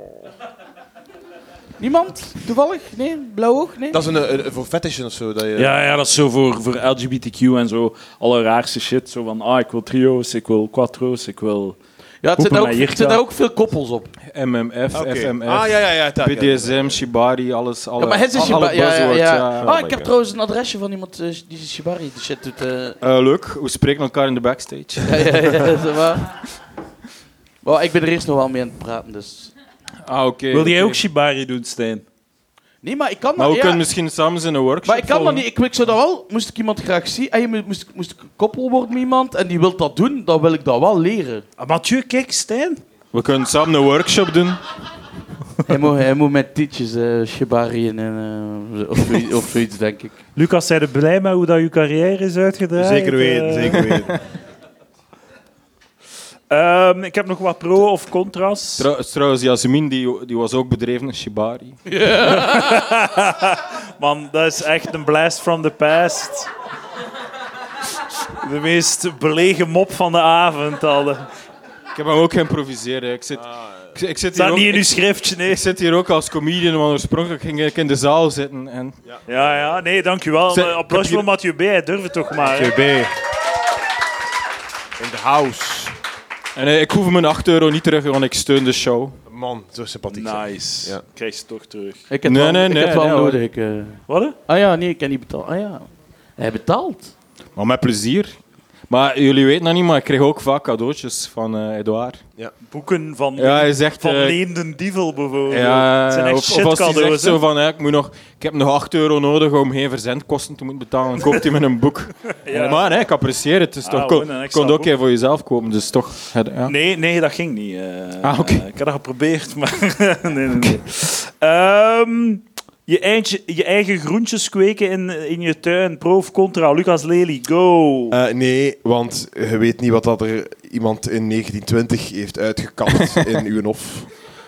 F: Niemand? Toevallig? Nee? Blauw oog? Nee?
C: Dat is een, een, een- voor fetishen of zo. Dat je...
B: Ja, ja, dat is zo voor, voor LGBTQ en zo, alle raarste shit. Zo van, ah, ik wil trio's, ik wil quattro's, ik wil...
F: ja, het zit daar ook,
B: Hoepen, maar
F: het zit daar ook veel koppels op.
D: MMF,
C: Oké.
D: FMF,
C: Ah, ja, ja, ja. taak, ja.
D: BDSM, Shibari, alles. Alle,
F: Ja, maar het is
D: alle
F: Shibari. Ja, ja,
D: buzzwords,
F: ja.
D: ja.
F: Ah,
C: my
F: ik heb
C: God.
F: trouwens een adresje van iemand eh, die Shibari die shit doet.
C: [LAUGHS]
F: eh.
D: Eh, leuk, we spreken elkaar in de backstage.
F: Ja, ja, ja, zeg maar. Wel, ik ben er eerst nog wel mee aan het praten, dus...
D: Ah, oké.
B: Wil jij
D: oké.
B: ook Shibari doen, Stijn?
F: Nee, maar ik kan
D: Maar
F: dat...
D: we
F: ja,
D: kunnen misschien samen eens in een workshop
F: maar ik kan dat
D: volgen.
F: niet. Ik, ik zou dat wel... Moest ik iemand graag zien... En je moest, moest, moest ik koppel worden met iemand en die wil dat doen, dan wil ik dat wel leren.
B: Ah, Mathieu, kijk, Stijn.
D: We kunnen samen een workshop doen.
F: Hij moet, hij moet met tietjes eh Shibari en... eh, of, zoiets- [LAUGHS] of zoiets, denk ik.
B: Lucas, zijn er blij mee hoe dat je carrière is uitgedraaid?
C: Zeker weten,
B: Eh,
C: zeker
F: [LAUGHS]
C: weten.
B: ehm, ik heb nog wat pro of contra's.
D: Trou- trouwens, Jasmin die, die was ook bedreven in Shibari.
B: Man, dat is echt een blast from the past. De meest belegen mop van de avond. Al.
D: Ik heb hem ook geïmproviseerd. hè. Ik zit, ik, ik zit hier
B: Ah, Staat
D: ook,
B: niet in uw
D: ik,
B: schriftje, nee.
D: ik zit hier ook als comedian, want oorspronkelijk ging ik in de zaal zitten. En
B: Ja, ja, nee, dankjewel.
D: Zeg,
B: Eh,
D: ik
B: Applaus
D: heb hier-
B: voor Mathieu B. Hij durft het toch maar. hè.
C: JB. In the house.
D: En eh, ik hoef mijn 8 euro niet terug, want ik steun de show.
C: Man, zo sympathiek.
B: Nice.
C: Ja.
B: Krijg je het toch terug.
F: Ik heb
D: Nee,
F: wel,
D: nee,
F: ik
D: nee,
F: heb wel
D: nee, hoor.
F: nodig. ik, eh.
B: Wat? hè?
F: Ah ja, nee, ik kan niet betalen. Ah ja. Hij betaalt.
D: Maar met plezier. Maar jullie weten dat niet, maar ik kreeg ook vaak cadeautjes van eh Edouard.
B: Boeken van,
D: Ja, hij zegt...
B: van
D: eh,
B: Leenden Dievel bijvoorbeeld.
D: ja,
B: Het zijn echt
D: of, of als hij
B: shitcadeaus,
D: zegt
B: hè.
D: zo van, eh, ik, moet nog, ik heb nog 8 euro nodig om geen verzendkosten te moeten betalen, dan koopt hij met een
B: [LAUGHS]
D: boek. Maar nee, ik apprecieer het. Dus
B: Ah,
D: toch,
B: gewoon
D: kon,
B: een extra
D: kon het ook
B: boek.
D: even voor jezelf kopen, dus toch... het-
B: [LAUGHS]
D: Ja.
B: Nee, nee, dat ging niet. eh.
D: Ah, oké.
B: Eh, ik had dat geprobeerd, maar... [LAUGHS] nee, nee, nee. Ehm, je, eindje, je eigen groentjes kweken in, in je tuin. Pro of contra? Lucas Lely, go!
C: Eh, nee, want je weet niet wat dat er iemand in 1920 heeft
D: [LAUGHS]
C: uitgekapt in uw hof.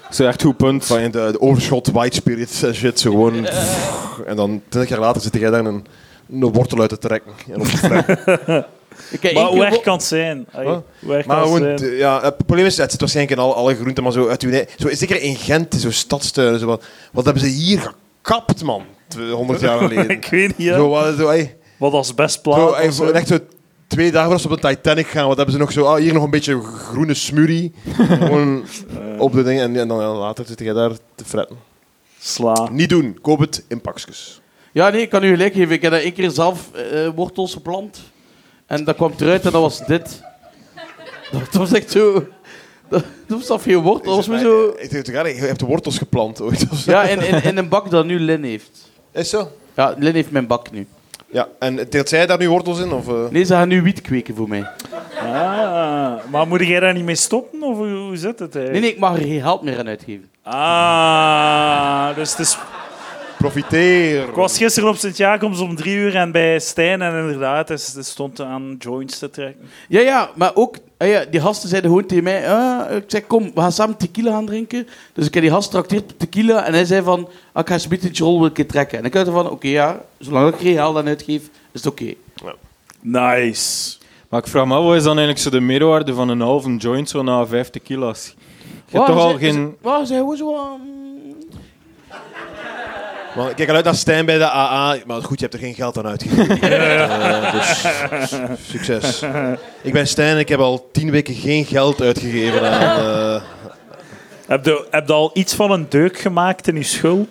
D: Dat is echt goed punt. Eh.
C: Van in de, de overschot, white [LAUGHS] spirits en shit. Zo gewoon. pff, en dan 20 jaar later zit jij daar een, een wortel uit te trekken. En op te
D: [LAUGHS]
C: fretten.
F: Ik heb
B: maar
F: één
B: hoe
F: keer
B: erg
F: wo-
B: kan het zijn? Ai,
C: Huh?
B: Hoe erg
C: maar
B: kan het
C: gewoon,
B: zijn?
C: t- ja, het probleem is, het zit waarschijnlijk in alle, alle groenten, maar zo uit uw. ei- Zo, zeker in Gent, zo stadstuinen. Zo, wat, wat hebben ze hier gekapt, man? 100
D: [LAUGHS]
C: jaar geleden.
B: [LAUGHS] Ik weet niet, hè.
C: Zo, wat, zo, ey.
B: wat als best
C: Zo,
B: plaat.
C: en
B: of zo.
C: voor echt zo twee dagen voordat ze op de Titanic gaan, wat hebben ze nog zo? Ah, hier nog een beetje groene
F: [LAUGHS]
C: smurrie. Gewoon
F: Eh.
C: op de dingen. En, en dan ja, later zit jij daar te fretten.
B: Sla.
C: Niet doen. Koop het in pakjes.
F: Ja, nee, ik kan u gelijk geven. Ik heb dat één keer zelf eh, wortels geplant. En dat kwam eruit en dat was dit. [LAUGHS] Dat was echt zo... [LAUGHS] Dat dat was af geen wortel. Dat was maar
D: [LAUGHS]
F: zo...
C: Ik denk, ja, je hebt de wortels geplant [LAUGHS] ooit. Of zo.
F: Ja, in, in, in een bak dat nu Lin heeft.
C: Is zo?
F: Ja, Lin heeft mijn bak nu.
C: Ja. En teelt zij daar nu wortels in? Of, eh?
F: Nee, ze gaan nu wiet kweken voor mij.
C: Ah,
B: Ah, maar moet jij daar niet mee stoppen? Of hoe, hoe zit het eigenlijk?
F: Nee, nee, ik mag er geen geld meer aan uitgeven.
B: Ah, dus het is
C: Profiteer.
B: Ik was gisteren op Sint-Jacobs om drie uur en bij Stijn en inderdaad, hij s- stond aan joints te trekken.
F: Ja, ja, maar ook... ah ja, die gasten zeiden gewoon tegen mij... ah, ik zei, kom, we gaan samen tequila gaan drinken. Dus ik heb die gast trakteerd op tequila. En hij zei van... ah, ik ga zometeen een beetje rol een keer trekken. En ik dacht van... Oké, ja, zolang ik geen geld aan uitgeef, is het oké.
B: Nice.
D: Maar ik vraag me af, wat is dan eigenlijk zo de meerwaarde van een halve joint zo na 50 kilo's? Je hebt
F: Waar
D: toch al
F: zijn- is-
D: geen...
F: Waar zijn we zo... aan?
C: Want ik kijk al uit naar Stijn bij de AA. Maar goed, je hebt er geen geld aan
F: [LAUGHS]
C: uitgegeven. Eh, dus succes. Ik ben Stijn en ik heb al tien weken geen geld uitgegeven aan... eh,
B: Heb je, heb je al iets van een deuk gemaakt in je school?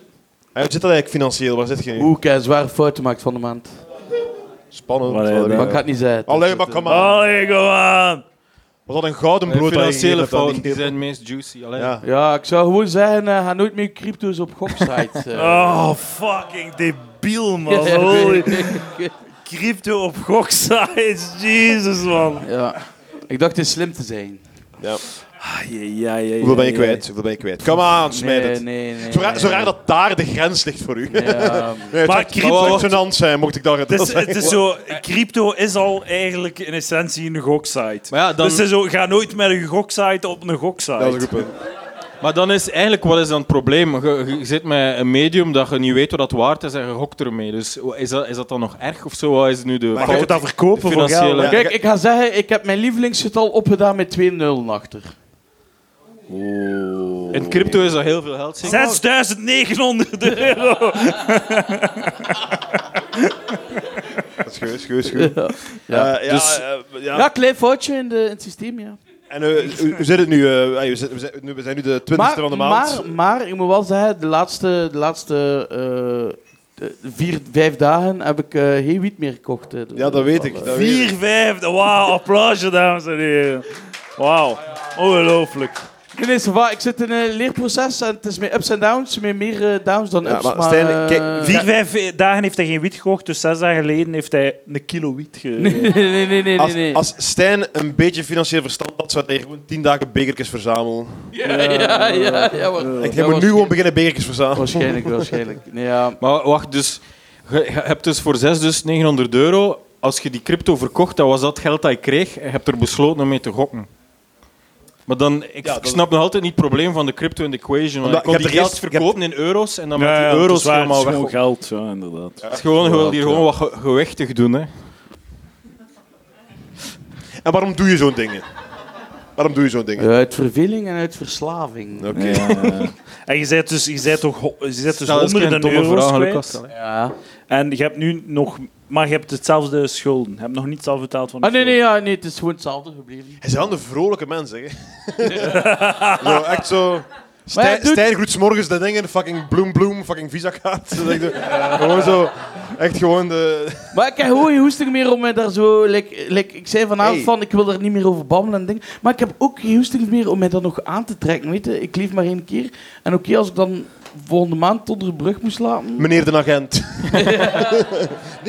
C: Hey, Hoe zit dat eigenlijk financieel? Waar zit je nu?
F: Oeh, ik heb een zware fout gemaakt van de maand.
C: Spannend.
B: Wat heb je?
F: Maar ik ga het niet zeggen.
C: Allee, maar kom aan.
B: Allee, kom aan.
C: Was dat een gouden
D: De
C: brood? dat je
D: financiële
C: gegeven hebt aan
D: fouten
C: die
D: die
C: kerel?
D: zijn het meest juicy. Allee.
C: Ja.
F: Ja, ik zou gewoon zeggen, eh, ga nooit meer crypto's op goksites.
D: [LAUGHS]
F: eh.
B: Oh, fucking debiel,
D: Oh,
B: man. Holy
F: [LAUGHS]
B: crypto op goksites. Jezus, man.
F: ja. Ik dacht het slim te zijn.
B: Ja, ja, ja,
C: Hoeveel ben je kwijt? Hoeveel ben je kwijt? Kom aan, smijt
F: nee,
C: het.
F: nee, nee.
C: Zo, raar, zo raar dat daar de grens ligt voor u. [LAUGHS] Nee,
F: Ja,
C: het
B: Maar
C: zou- het
B: crypto-
C: zou resonant zijn, mocht ik dat
B: Het is,
C: zeggen.
B: het
C: [LAUGHS]
B: is zo, crypto is al eigenlijk in essentie een goksite.
D: Maar ja, dan-
B: Dus het is zo, ga nooit met een goksite op een goksite.
C: Dat is een goed punt.
D: Maar dan is eigenlijk, wat is dan het probleem? Je, je- je zit met een medium dat je niet weet wat dat waard is en je gokt ermee. Dus is dat, is dat dan nog erg of zo? Wat is nu de
C: Maar
B: Je
D: fout?
B: kunt dat verkopen voor
D: Financiële-
B: geld. hè.
F: Kijk, ik ga zeggen, ik heb mijn lievelingsgetal opgedaan met 2-0 achter.
D: In crypto is dat heel veel geld, zeker?
B: 6900 euro.
C: Scheur, scheur, scheur. Ja,
F: Ja.
C: ja,
F: Dus-
C: eh, ja.
F: Ja, klein foutje in, de, in het systeem, ja.
C: En eh, hoe hoe zit het nu? eh, hey, we, zitten- we zijn, nu- we zijn nu de twintigste van de maand.
F: Maar, maar ik moet wel zeggen, de laatste, de laatste eh, vier, vijf dagen heb ik eh, geen wiet meer gekocht. eh. Dus
C: ja, dat weet ik. Dat weet ik.
B: 4, 5. Wauw, applausje, dames en heren. Wauw, ongelooflijk.
F: Nee, nee, ça va. ik zit in een leerproces en het is met ups en downs, met meer eh, downs dan
C: Ja,
F: ups.
C: maar
F: maar,
C: Stijn,
F: eh,
C: kijk,
B: 4, 5 dagen heeft hij geen wiet gekocht, dus 6 dagen geleden heeft hij een kilo wiet ge...
F: [LAUGHS] Nee, nee, nee, nee,
C: Als,
F: nee.
C: als Stijn een beetje financieel verstand had, zou hij gewoon tien dagen bekertjes verzamelen.
F: Ja, ja, ja. ja, maar-
C: [LAUGHS] Ik ga moet nu
F: Ja,
C: gewoon
F: waarschijnlijk-
C: beginnen bekertjes verzamelen.
F: Waarschijnlijk, waarschijnlijk. Nee, ja.
D: Maar wacht, dus, je, je hebt dus voor 6 dus 900 euro. Als je die crypto verkocht, dat was dat geld dat je kreeg. Je hebt er besloten om mee te gokken. Maar dan, ik,
C: Ja,
D: ik
C: dat-
D: snap nog altijd niet het probleem van de crypto in de equation. Want
C: Omdat-
D: je kon
C: je hebt
D: die
C: er
D: geld
C: eerst- je hebt-
D: verkopen in euro's en dan
B: Ja,
D: met
B: ja,
D: die
B: het
D: euro's
B: is Dus waar,
D: helemaal
B: het is
D: weg.
B: gewoon geld, ja, inderdaad.
D: Het is gewoon, je wil hier gewoon wat ge- gewichtig doen. Hè.
B: Dus
C: En waarom doe je zo'n dingen? Waarom doe je zo'n dingen?
F: Eh, Uit verveling en uit verslaving.
C: Oké.
B: En je bent dus, je bent toch, ho- je bent dus
D: Nou, Dat is geen
B: honderden
D: domme
B: euro's
D: vraag,
B: kwijt.
D: Lucas.
F: Ja.
B: En je hebt nu nog... Maar je hebt hetzelfde schulden. Je hebt nog niet zelf betaald van de
F: Ah, nee, nee,
B: schulden.
F: ja, nee, het is gewoon hetzelfde gebleven.
C: Hij is wel een vrolijke mens, hè? zo, echt zo.
F: Maar ja,
C: Stijn,
F: dude-
C: Stijn groet 's morgens de dingen, fucking bloem bloem, fucking visa kaart. Gewoon zo, echt gewoon de.
F: Maar ik heb gewoon geen hoesting meer om mij daar zo... Like, like, ik zei vanavond
C: Hey.
F: van, ik wil er niet meer over babbelen en dingen. Maar ik heb ook geen hoesting meer om mij dat nog aan te trekken, weet je. Ik leef maar één keer. En oké, als ik dan volgende maand tot de brug moest laten...
C: Meneer de agent. nee,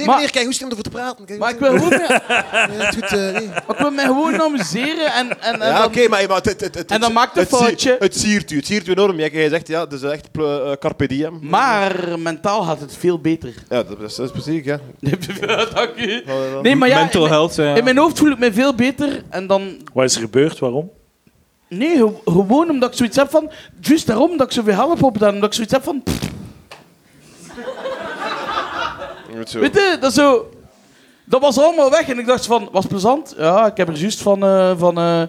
F: Maar-
C: kijk, hoe is het om ervoor te praten? Kijk,
F: Maar ik wil,
C: [LAUGHS]
F: gewoon,
C: ja, goed, eh, nee.
F: maar ik wil mij gewoon amuseren en, en, en
C: Ja,
F: dan-
C: oké, maar, maar het, het, het, het-
F: En dan maakt het
C: zie-
F: foutje.
C: Het siert u, het siert u enorm. Jij, jij zegt, ja, het is echt ple- eh, carpe diem.
F: Maar mentaal gaat het veel beter. [LAUGHS]
C: Ja, dat is, dat is precies, ja.
F: Dank u. Nee, maar ja,
D: Mental
F: in, mijn-
D: health. ja.
F: in mijn hoofd voel ik me veel beter. En dan...
B: Wat is er gebeurd? Waarom?
F: Nee, ge- gewoon omdat ik zoiets heb van... Juist daarom dat ik zoveel help op dan. Omdat ik zoiets heb van... pff,
C: Goed zo.
F: weet je, dat is zo... Dat was allemaal weg. En ik dacht van... Was plezant? Ja, ik heb er juist van... eh, van eh,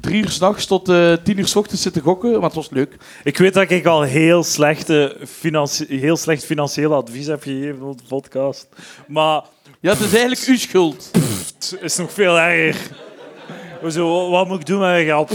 F: drie uur s'nachts tot eh, tien uur s ochtends zitten gokken. Maar het was leuk.
B: Ik weet dat ik al heel, slechte financi- heel slecht financieel advies heb gegeven op de podcast. Maar
F: Ja, het is eigenlijk uw schuld.
B: het is nog veel erger. Zo, wat moet ik doen met mijn
D: [LAUGHS]
B: geld?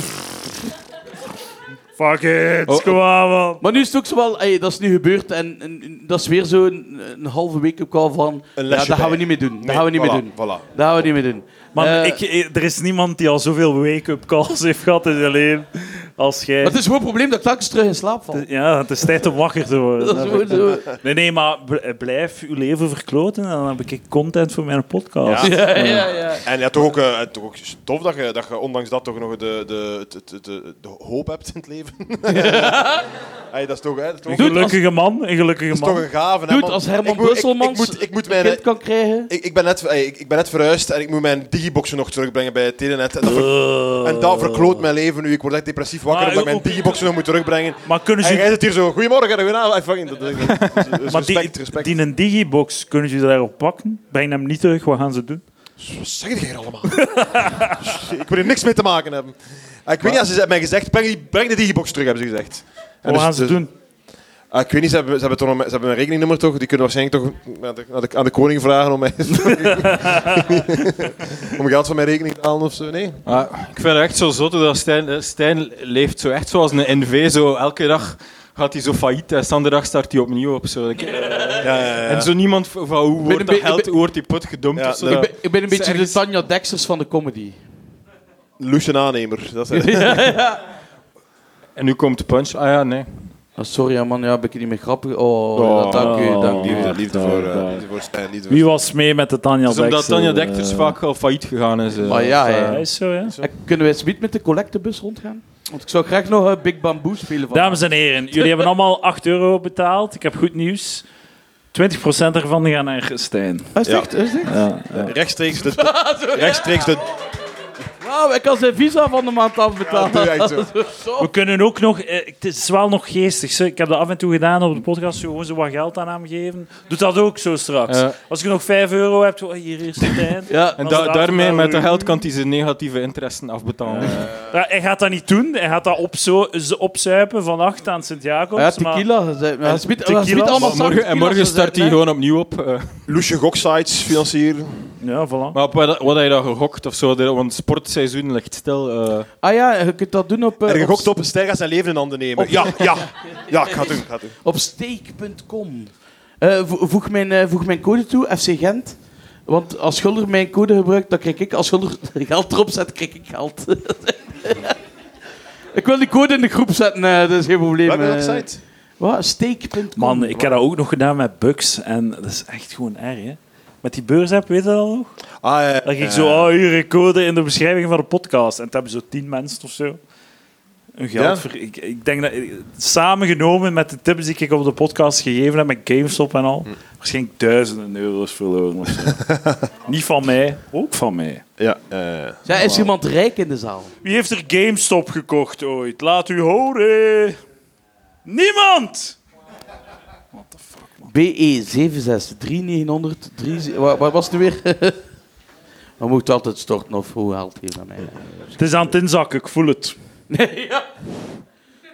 B: Fuck it,
D: Oh.
B: kom aan, man.
F: Maar nu is het ook zo wel... ey, dat is nu gebeurd. En, en- en dat is weer zo een, een halve week ook al van...
C: Een
F: Ja,
C: lesje
F: dat
C: bij.
F: gaan we niet meer doen. Dat
C: Nee,
F: gaan we niet meer
C: voilà,
F: doen.
C: Voilà.
F: Dat gaan we niet meer doen.
B: Man,
F: Eh,
B: ik, ik- er is niemand die al zoveel wake-up calls heeft gehad in zijn leven. Als jij...
F: Maar het is gewoon een probleem dat ik telkens terug in slaap val.
B: [LAUGHS] Ja, het is tijd om wakker te [LAUGHS]
F: Dat is
B: worden.
F: gewoon zo. [LAUGHS]
B: Nee, nee, maar bl- blijf uw leven verkloten en dan heb ik content voor mijn podcast.
F: Ja, ja, ja.
C: En ja, toch ook, eh, toch ook tof dat je, dat je ondanks dat toch nog de, de, de, de, de hoop hebt in het leven. [LAUGHS] Hey, dat is toch, hè, dat is toch,
B: Een
F: Doet
B: gelukkige man, een gelukkige
C: dat is toch
B: man.
C: een gave. hè,
F: Dude,
C: man?
F: als Herman
C: ik moet, ik-
F: Brusselmans
C: Ik, moet, ik, moet mijn,
F: Kind kan krijgen.
C: ik, ik ben net, hey, ik, ik ben net verhuisd en ik moet mijn digiboxen nog terugbrengen bij Telenet. En dat, ver- en dat verkloot mijn leven nu. Ik word echt depressief wakker
B: Maar
C: omdat ik
B: ook-
C: mijn digiboxen nog moet terugbrengen.
B: Maar kunnen
C: En jij
B: ze...
C: zit hier zo, goedemorgen en goedenavond. Fucking, dat, dat, dat- dat- dat-
B: [LAUGHS] Maar die,
C: respect, respect.
B: die een digibox, kunnen ze daarop pakken? Breng hem niet terug, wat gaan ze doen?
C: Wat zeg je hier allemaal? [LAUGHS] ik wil hier niks mee te maken hebben. En Ah, ik weet niet, als ze hebben mij gezegd, breng, die, breng de digibox terug, hebben ze gezegd.
B: Wat
C: En dus-
B: gaan ze
C: dus-
B: doen?
C: Ah, ik weet niet, ze hebben, ze, hebben toch, nog mijn- ze hebben mijn rekeningnummer toch? Die kunnen waarschijnlijk toch naar de- naar de- aan de koning vragen om, mij, [LAUGHS] om geld van mijn rekening te halen of zo. Nee.
D: Ah, ik vind het echt zo zot hoe dat Stijn, eh, Stijn leeft zo echt zoals een NV. Zo elke dag gaat hij zo failliet en de dag start hij opnieuw op. Zo. Ik, eh, En zo niemand v- van hoe wordt
F: een
D: dat
F: be-
D: geld,
F: ik ben-
D: hoe wordt die pot gedompt
C: Ja,
D: of zo.
C: dat-
F: Ik ben, ik ben een beetje
D: ergens-
F: de Tanja Dexters van de comedy.
C: Lucien aannemer. Dat is
D: En nu komt de punch. Ah ja, nee.
F: Ah, sorry, hè, man. Ja, ben ik niet meer grappig. Oh, ja, dank u. Dank u.
C: liefde, liefde, voor, eh, liefde voor Stijn. Liefde voor
B: Wie was mee met de Tanja
D: Dat
C: Dus
D: is
B: Dekker?
D: omdat Tanja Dekters vaak al failliet gegaan is. eh.
F: Maar ja, hè.
B: eh, Ja, is zo, ja.
F: En kunnen wij niet met de collectebus rondgaan? Want ik zou graag nog eh, Big Bamboo spelen. Van
B: Dames en heren, jullie hebben allemaal 8 euro betaald. Ik heb goed nieuws. 20% ervan gaan naar Stijn.
F: Ah, is het echt? Is het echt?
C: Rechtstreeks [LAUGHS] de... rechtstreeks de...
F: Wauw, ik kan zijn visa van de maand afbetalen.
C: doe
F: [LAUGHS]
C: jij het zo.
B: We kunnen ook nog... eh, het is wel nog geestig. zo. Ik heb dat af en toe gedaan op de podcast. zo Gewoon zo wat geld aan hem geven. Doe dat ook zo straks.
D: Ja.
B: Als je nog 5 euro hebt, oh, hier is
F: [LAUGHS]
B: Stijn.
F: Ja,
D: En
B: Als
D: da-
B: het
D: daarmee,
B: afbetaalt,
D: met dat
B: eh,
D: geld, kan hij zijn negatieve interessen afbetalen. Eh,
B: Ja, hij gaat dat niet doen. Hij gaat dat opzo- z- opzuipen van 8 aan Sint-Jacobs.
F: ja,
B: maar-
F: tequila. Ze- ja, ze biedt-
B: tequila.
F: ze biedt allemaal
D: Maar morgen, en morgen start hij gewoon opnieuw op. eh.
C: Loesje goksites financieren.
B: Ja, voilà.
D: Maar op wat, wat had je dan gegokt of zo? De- Want het sportseizoen ligt stil. eh.
F: Ah ja, je kunt dat doen op, eh,
C: En je
F: op,
C: gokt op, Stijn gaat zijn leven in handen
B: Oh.
C: nemen. Ja, ja. Ja, ik ga het doen. ik ga het doen.
F: op steak.com. Eh, vo- voeg, mijn, eh, voeg mijn code toe, FC Gent. Want als Schulder mijn code gebruikt, dan krijg ik... Als [LAUGHS] Schulder geld erop zet, krijg ik geld. [LAUGHS] ik wil die code in de groep zetten, eh, dat is geen probleem.
C: Welke
F: eh.
C: website?
F: Wat? Steak.com.
B: Man, ik heb dat ook nog gedaan met Bucks. En dat is echt gewoon erg, hè. Met die beursapp, weet je dat al nog?
C: Ah, ja.
B: Dan ging ik zo, oh, hier een code in de beschrijving van de podcast. En het hebben zo tien mensen of zo. Een geld
C: Ja.
B: voor- ik, ik denk dat... Samengenomen met de tips die ik op de podcast gegeven heb, met GameStop en al, waarschijnlijk duizenden euro's verloren of zo. Niet van mij, ook van mij.
C: Ja, eh,
F: Ja, is iemand rijk in de zaal?
B: Wie heeft er GameStop gekocht ooit? Laat u horen. Niemand!
F: BE 76 3900 3 Wat wat was het nu weer? [LAUGHS] We moeten altijd storten of hoe haalt hier aan mij? [LAUGHS]
B: Het is aan het inzakken, ik voel het.
F: Nee, ja.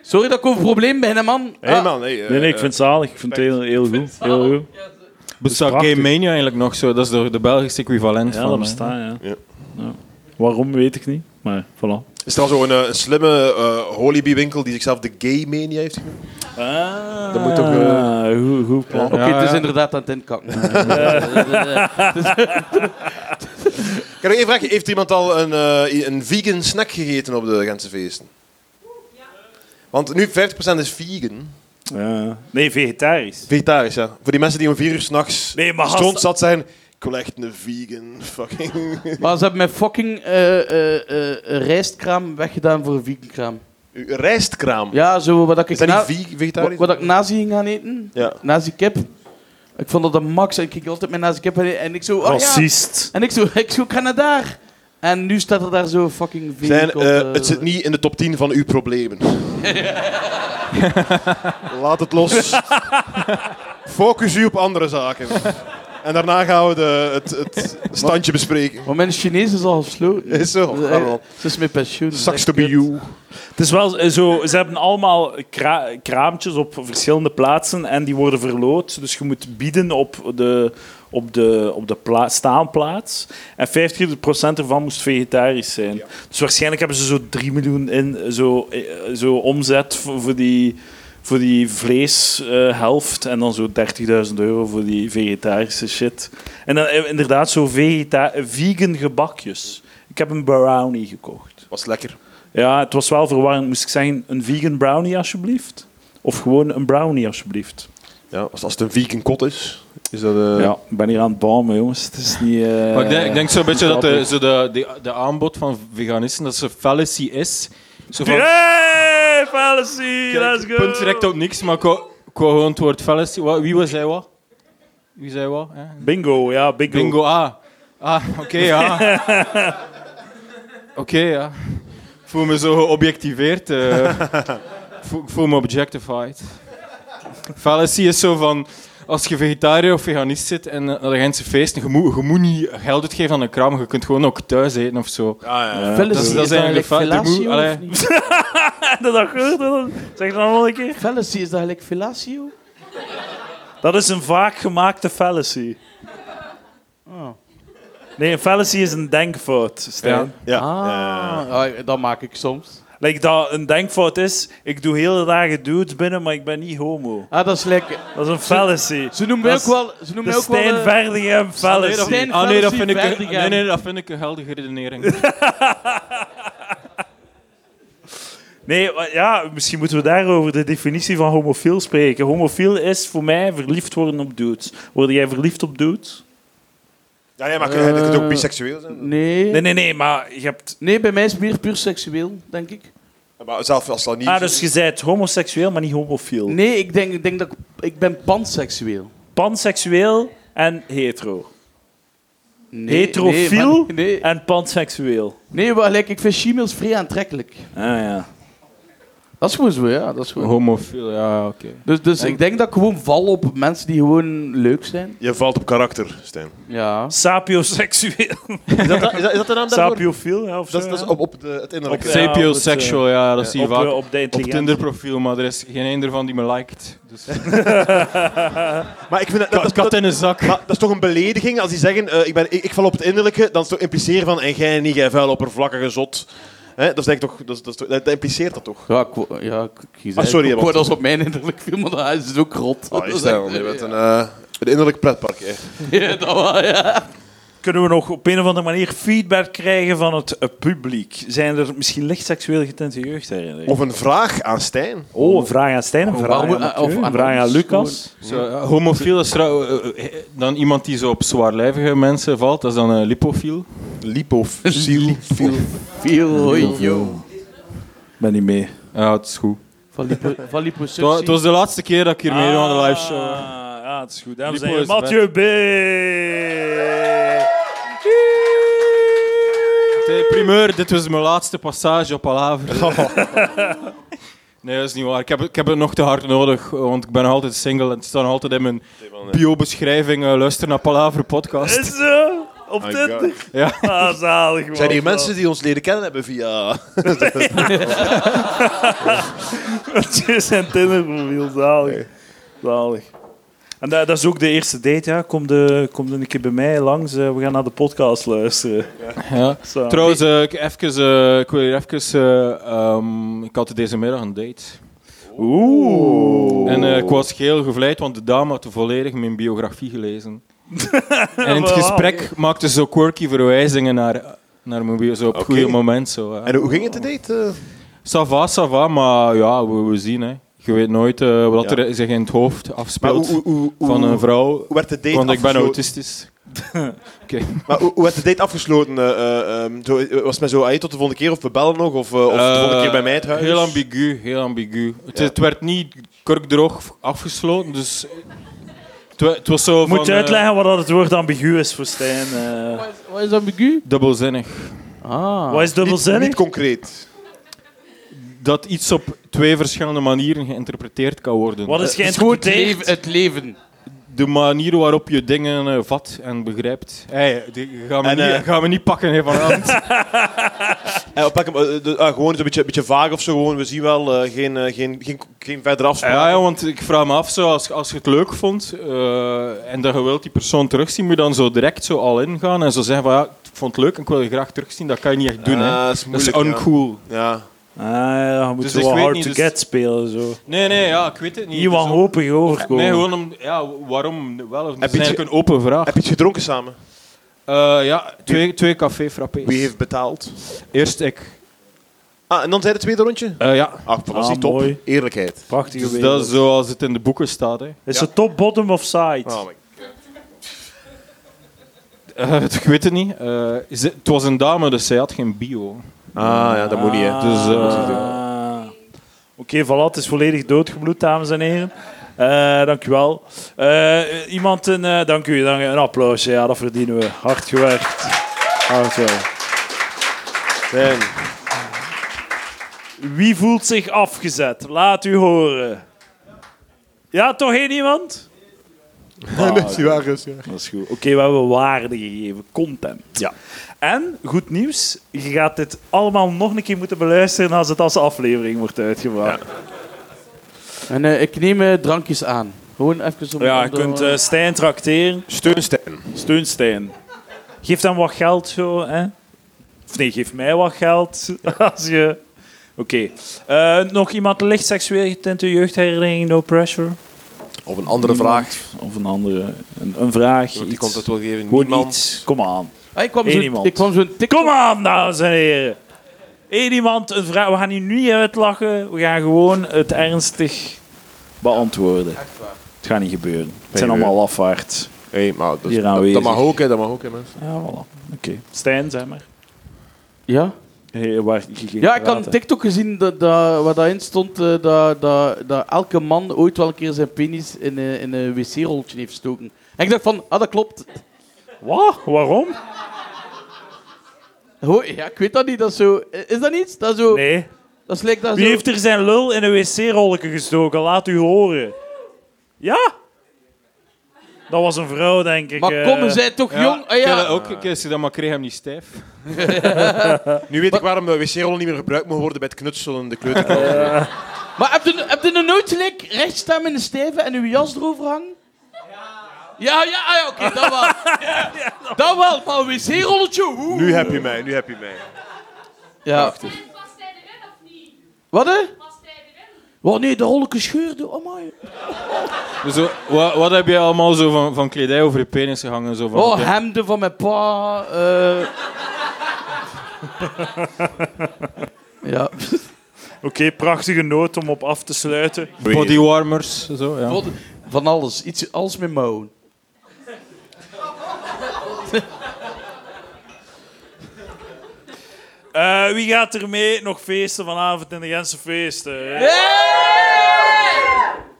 F: Sorry dat ik over probleem ben, hè, man.
C: Hey
F: Ah,
C: man, hey, eh,
B: Nee, nee, ik vind het zalig. Ik vind het heel, heel goed. Heel goed.
D: Bestaat
B: prachtig.
D: Game Mania Dus eigenlijk nog zo? Dat is de, de Belgische equivalent
B: Ja,
D: van.
B: dat
D: hè.
B: bestaat, ja.
C: Ja.
B: Ja. Waarom, weet ik niet. Maar, voilà.
C: Is er al zo'n eh, slimme eh Holibee-winkel die zichzelf de gay mania heeft genoemd?
B: Ah,
C: Dat moet toch, eh,
B: goed, goed plan.
F: Oké,
D: Ja,
F: het is
D: ja.
F: inderdaad aan het inkakken.
C: Ik heb nog één vraag. Heeft iemand al een, eh, een vegan snack gegeten op de Gentse feesten? Want nu 50% is vegan.
B: Ja. Nee, vegetarisch.
C: Vegetarisch, ja. Voor die mensen die om vier uur s'nachts
B: Nee, maar gast-
C: stond zat zijn. Ik wil echt een vegan fucking...
F: maar ze hebben mijn fucking eh, eh, eh, rijstkraam weggedaan voor een vegankraam.
C: Uw Rijstkraam.
F: Ja, zo wat ik...
C: Is dat
F: na-
C: niet vegan, vegetarisch?
F: Wat, wat ik nazi ging gaan eten,
C: Ja.
F: nazi kip. Ik vond dat de max. En ik keek altijd mijn nazi kip en, en ik zo... Oh, ja.
B: Racist.
F: En ik zo, [LAUGHS] ik zo, ik ga naar daar. En nu staat er daar zo fucking vegan
C: Zijn,
F: kop,
C: eh,
F: eh,
C: het zit niet in de top 10 van uw problemen. Laat het los. Focus u op andere zaken. En daarna gaan we de, het, het standje bespreken.
F: Maar mijn Chinees is al gesloten.
C: Is Oh, zo.
F: Ze-
C: Waarom?
F: Ze is met pensioen. dat is
C: Sucks
F: echt
C: to be
F: kut.
C: you.
B: Het is wel eh, zo, ze hebben allemaal kra- kraampjes op verschillende plaatsen en die worden verloot. Dus je moet bieden op de, op de, op de pla- staanplaats. En 50% ervan moest vegetarisch zijn. Dus waarschijnlijk hebben ze zo 3 miljoen in zo, eh, zo omzet voor, voor die, voor die vleeshelft. en dan zo 30.000 euro voor die vegetarische shit. En dan eh, inderdaad zo vegeta- vegan gebakjes. Ik heb een brownie gekocht.
C: Was lekker.
B: Ja, het was wel verwarrend. Moest ik zeggen, een vegan brownie alsjeblieft? Of gewoon een brownie alsjeblieft?
C: Ja, als, als het een vegan kot is, is dat... eh,
B: ja, ik ben hier aan het bomen, jongens. Het is niet... eh,
D: Maar ik denk, ik denk zo'n beetje dat de, zo de, de, de aanbod van veganisten, dat ze fallacy is. Zo van,
J: Hey, fallacy, let's go.
D: punt direct op niks, maar ik wou ik wou gewoon het woord fallacy. Wat- Wie was hij wat? Wie zei wat? hè?
B: Bingo, ja, bingo. [LAUGHS]
D: Bingo, ah. Ah, oké, [LAUGHS] ja. Oké, ja. Ik voel me zo geobjectiveerd. eh. [LAUGHS] Ik voel- ik voel me objectified. Fallacy is zo van... Als je vegetariër of veganist zit en eh, naar de Gentse feesten, je moet, je moet niet geld uitgeven aan een kraam, je kunt gewoon ook thuis eten of zo.
F: Fallacy
D: dat is-
F: is
D: dat is
F: dan
D: eigenlijk
F: gelijk
D: fa- de moe-
F: fellatio,
D: allee.
F: of niet?
J: Dat dat gehoord, dat- Zeg dat nog een keer.
F: Fallacy is dat gelijk fellatio?
B: Dat is een vaak gemaakte fallacy.
F: Oh.
B: Nee, een fallacy is een denkfout, Stijn.
C: ja.
F: Ah, ah, dat maak ik soms.
B: Like dat een denkfout is, ik doe hele dagen dudes binnen, maar ik ben niet homo.
F: Ah, dat is lekker.
B: Dat is een fallacy.
F: Ze noemen mij ook
B: Dat is
F: wel... Ze
B: De
F: noemen mij ook wel...
B: Stijn
F: eh,
B: Verdingen een
D: dat-
B: fallacy.
F: Stijn
D: ah, nee, dat
F: fallacy
D: vind ik een, nee,
F: verdigaan.
D: nee, dat vind ik een geldige redenering.
B: Nee, wa- ja, misschien moeten we daarover de definitie van homofiel spreken. Homofiel is voor mij verliefd worden op dudes. Word jij verliefd op dudes?
C: Ja, nee, maar kun je je kunt ook biseksueel zijn.
F: Nee.
B: Nee,
F: nee.
B: nee, nee, maar je hebt...
F: bij mij is het meer puur seksueel, denk ik.
C: Maar zelf als dat niet...
B: Ah, dus je bent homoseksueel, maar niet homofiel.
F: Nee, ik denk, ik denk dat ik... Ik ben panseksueel.
B: Panseksueel en hetero.
F: Nee,
B: Heterofiel
F: Nee, maar- nee,
B: En panseksueel.
F: nee, maar gelijk, ik vind chemels vrij aantrekkelijk.
B: Ah ja.
F: Dat is gewoon zo, ja. Dat is
D: Oh.
F: gewoon...
D: [LAUGHS] Homofiel, ja, oké.
F: Dus, dus ik denk dat ik gewoon val op mensen die gewoon leuk zijn.
C: Je valt op karakter, Stijn.
F: Ja.
B: Sapioseksueel.
C: Is dat, is dat, is dat de naam
B: Sapiofiel, ja, of zo.
C: Dat is,
B: ja.
C: op, op de, het innerlijke.
B: Op- Ja,
D: Sapiosexual, ja, dat zie je
B: op,
D: vaak.
B: eh, op de
D: Op
B: intelligentie.
D: Tinder profiel, maar er is geen een ervan die me liked. Dus...
C: maar ik vind dat, dat,
D: Kat,
C: dat,
D: [LAUGHS] kat in een zak.
C: maar dat is toch een belediging als die zeggen, eh, ik, ben, ik, ik val op het innerlijke, dan is het toch impliceren van, en jij niet, jij vuil oppervlakkige zot. Hè? Dat, is denk ik toch, dat, is- dat, is toch- dat, dat impliceert dat toch?
F: Ja, ik, wo- ja, ik kies
C: Ah, sorry,
F: Ik
C: want-
F: word als op mijn innerlijk viel, maar dat is het ook rot.
C: Ah,
F: Dat is
C: Stijn,
F: echt-
C: je bent een, eh, een innerlijk pretpark. Hè.
F: [LAUGHS] Ja, dat wel, ja.
B: Kunnen we nog op een of andere manier feedback krijgen van het eh, publiek? Zijn er misschien licht seksueel getinte jeugdherinneringen?
C: Of een vraag aan Stijn.
B: oh, een vraag aan Stijn, een vraag aan,
F: waarom-
B: Mathieu,
F: of
B: een
F: aan
B: vraag aan
F: ons,
B: Lucas.
D: Zo, ja, eh, homofiel is trouw, eh, eh, dan iemand die zo op zwaarlijvige mensen valt, dat is dan een lipofiel.
C: Lipofiel.
F: Veel hoi, joh.
B: Ben niet mee.
D: Ja, het is goed.
F: Van lipo- van
D: Het wa- het
F: liposuctie.
D: was de laatste keer dat ik hier meedoe aan de live show.
B: Ah, ja, het is goed. Dames en
D: Lipo
B: heren,
D: is
B: Mathieu B.
D: primeur, dit was mijn laatste passage op Alaver. Nee, dat is niet waar. Ik heb, het- ik heb het nog te hard nodig, want ik ben nog altijd single en het staat nog altijd in mijn bio-beschrijving. eh, luister naar Palaver podcast.
B: Is zo? Op
C: Oh My
B: Tinder?
C: God.
D: Ja.
B: Ah, zalig, man.
C: Zijn hier mensen die ons leren kennen hebben via...
B: [LAUGHS] Mathieu zijn Tinder-profiel, zalig. Zalig. En dat, dat is ook de eerste date, ja. Kom, de, kom dan een keer bij mij langs. eh, we gaan naar de podcast luisteren.
D: Ja.
B: Zo.
D: Trouwens, eh, ik, even, eh, ik wil hier even... eh, ehm, ik had deze middag een date.
B: Oeh.
D: En eh, ik was geheel gevleid, want de dame had volledig mijn biografie
C: [LAUGHS]
D: gelezen. en in het
B: Wauw.
D: gesprek maakte ze zo quirky verwijzingen naar, naar mijn bio, zo op het goede moment. Zo, hè.
C: En hoe ging het de date? eh?
D: Ça va, ça va, maar ja, we, we zien. Hè. Je weet nooit eh, wat
C: Ja.
D: er zich in het hoofd
C: Maar
D: afspeelt
C: hoe, hoe, hoe, hoe-
D: van een vrouw.
C: hoe werd de date
D: Want ik ben
C: afgesloten?
D: autistisch.
C: Maar hoe, hoe werd de date afgesloten? eh, eh, ehm, zo, eh, was het met zo, hey, tot de volgende keer of we bellen nog? Of, eh, of de volgende
D: Eh,
C: keer bij mij het huis?
D: Heel ambigu, heel ambigu. Het,
C: Ja.
D: het werd niet kurkdroog afgesloten, dus... Het, wa- het was zo
B: Moet je
D: van, eh,
B: uitleggen wat dat het woord ambigu is voor Stijn? eh.
F: Wat is- Wat is ambigu?
D: dubbelzinnig.
F: Ah.
B: wat is
C: niet,
B: dubbelzinnig?
C: niet concreet.
D: dat iets op twee verschillende manieren geïnterpreteerd kan worden.
B: Wat is
D: Eh,
F: Het is gewoon het
B: geïnterpreteerd?
F: leven. Het leven.
D: De manier waarop je dingen eh, vat en begrijpt. Hey, die gaan, we
C: En,
D: niet,
C: eh,
D: gaan we niet pakken hè, vanavond.
C: Eh, pak hem, eh, de- ah, gewoon zo'n beetje, beetje vaag of zo. Gewoon, we zien wel eh, geen, eh, geen, geen, geen verder afspraak.
D: [LAUGHS] ja, ja, want ik vraag me af, zo, als, als je het leuk vond eh, en dat je wilt die persoon terugzien, moet je dan zo direct zo al ingaan en zo zeggen van ja, ik vond het leuk en ik wil je graag terugzien. Dat kan je niet echt doen. hè.
C: dat is
D: Dat is
C: moeilijk. ja.
D: uncool.
C: ja.
B: Ah, ja, je moet
D: Dus
B: zo
D: ik
B: wel
D: weet
B: hard
D: niet,
B: to
D: dus-
B: get spelen. Zo.
D: Nee, nee, ja, ik weet het niet.
B: Niet
D: Het is ook-
B: wanhopig overkomen.
D: Nee, gewoon om... Ja, waarom wel? Het is
C: Heb je-
D: eigenlijk een open vraag.
C: Heb je iets gedronken samen?
D: Eh, ja, twee, twee café frappés.
C: Wie heeft betaald?
D: Eerst ik.
C: Ah, en dan zijn het tweede rondje?
D: Eh, ja,
C: Ah, voilà,
B: Ah,
C: zie, top.
B: mooi.
C: Eerlijkheid.
B: Prachtige
D: dus
B: wereld.
D: dat is zoals het in de boeken staat. Hè.
B: Is het top, bottom of side?
C: Ah, maar-
D: Eh, ik weet het niet. Eh, ze- het was een dame, dus zij had geen bio.
C: ah, ja, dat moet niet, hè.
D: Dus, eh,
B: Ah. Oké, voilà, het is volledig doodgebloed, dames en heren. Eh dank u wel. Eh, iemand een, eh, dank u, dank, een applaus. Ja, dat verdienen we. Hard gewerkt. Hard gewerkt.
C: Zijn.
B: Wie voelt zich afgezet? Laat u horen. Ja, toch één iemand?
C: dat is waar, dat is waar.
B: Dat is goed. Oké, we hebben waarde gegeven. Content. Ja. En, goed nieuws, je gaat dit allemaal nog een keer moeten beluisteren als het als aflevering wordt uitgebracht.
F: En eh, ik neem eh, drankjes aan. Gewoon even om...
B: Ja,
F: om
B: je
F: de-
B: kunt eh, Stijn tracteren.
C: Steun Stijn.
B: Steun Stijn. Geef hem wat geld zo, hè? Of nee, geef mij wat geld. [LAUGHS] Als je... Oké. Eh, nog iemand licht seksueel getinte jeugdherinnering, no pressure?
C: Of een andere vraag.
B: Of een andere... Een, een vraag,
C: Die
B: iets.
C: komt het wel geven.
B: Gewoon
C: Niemand.
B: iets. Kom aan.
F: Ah, ik kwam
B: Eén
F: zo'n-
B: iemand.
F: Ik kwam zo'n TikTok...
B: Kom aan, dames en heren. Eén iemand, een vraag. We gaan u niet uitlachen. We gaan gewoon het ernstig beantwoorden. Het gaat niet gebeuren. Het zijn
C: gebeuren.
B: allemaal lafaards.
C: Hey, maar dat,
B: Hier
C: dat- dat,
B: aanwezig.
C: mag ook, hè. Dat mag ook, hè, mensen.
B: Ja, voilà. Oké. Stijn, zeg maar.
F: Ja?
B: Hey, waar,
F: Ja, ik had een TikTok gezien dat, dat, waar daarin stond eh, dat, dat, dat elke man ooit wel een keer zijn penis in, een- in een wc-roltje heeft gestoken. En ik dacht van, ah, dat klopt.
B: Wat? Waarom?
F: Ho, ja, ik weet dat niet. Dat is, zo, is dat niet? Dat is zo...
B: Nee.
F: Dat is, lijkt dat
B: Wie
F: zo...
B: heeft er zijn lul in een wc-rolletje gestoken? Laat u horen. Ja? Dat was een vrouw, denk ik.
F: Maar
B: eh.
F: komen zij toch jong? Ah, ja.
D: Kijk, Ook, kijk, als je dat maar kreeg, hem niet stijf.
C: Nu weet ik waarom de wc-rol niet meer gebruikt mag worden bij het knutselen in de kleuterklas.
F: Maar heb je, heb je nog nooit gelijk recht staan in de stijve en uw jas erover hangen? Ja, ja, ah, ja oké, dat wel. dat wel, maar een wc-rolletje, oeh.
C: Nu heb je mij, nu heb je mij.
F: Ja.
H: En past hij erin of niet?
F: Wat, hè?
H: Past hij erin?
F: Wat, nee, de rolletje scheurde, oh my.
D: Dus zo, wat, wat heb je allemaal zo van, van kledij over je penis gehangen? Zo van,
F: Oh,
D: oké.
F: hemden van mijn
C: [LAUGHS]
F: pa. eh. ja.
B: Oké, prachtige noot om op af te sluiten.
D: bodywarmers. Zo, ja.
F: Wat- Van alles. Iets, alles met mouwen.
B: Eh, wie gaat er mee? Nog feesten vanavond in de Gentse feesten. hè?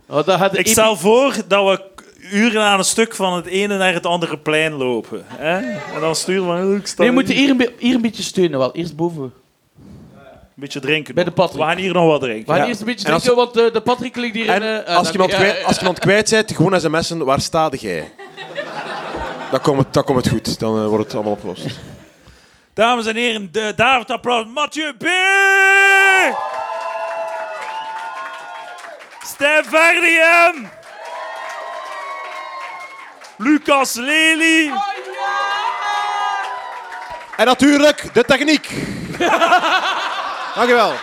F: Oh, dat had
B: Ik stel voor dat we k- uren aan een stuk van het ene naar het andere plein lopen. Hè? En dan sturen we een
F: Nee, we moeten hier een, be- hier een beetje steunen wel. Eerst boven.
B: Een beetje drinken.
F: Bij de
B: nog. We
F: Patrick.
B: gaan hier nog wat
F: We
B: drinken.
F: gaan
C: Ja.
F: eerst een beetje
C: En als-
F: drinken, want eh, de Patrick ligt hier in...
C: En
F: eh,
C: als je
F: ah,
C: iemand
F: ja,
C: kwijt,
F: ja,
C: als je iemand kwijt bent, gewoon sms'en, waar staat jij? Dan komt het, dan komt het goed, dan eh, wordt het allemaal opgelost.
B: Dames en heren, de David Applaus, Mathieu B. Stijn Verdiem. Lucas Lely.
C: En natuurlijk de techniek. Dankjewel.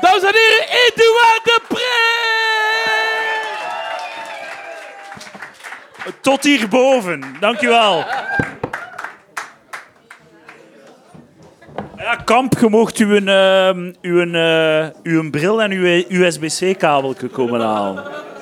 F: Dames en heren, Edouard de Pre!
B: Tot hierboven. Dankjewel. Ja, Kamp, je moogt uw, ehm, uw, eh, uw bril en uw USB-C-kabel komen halen.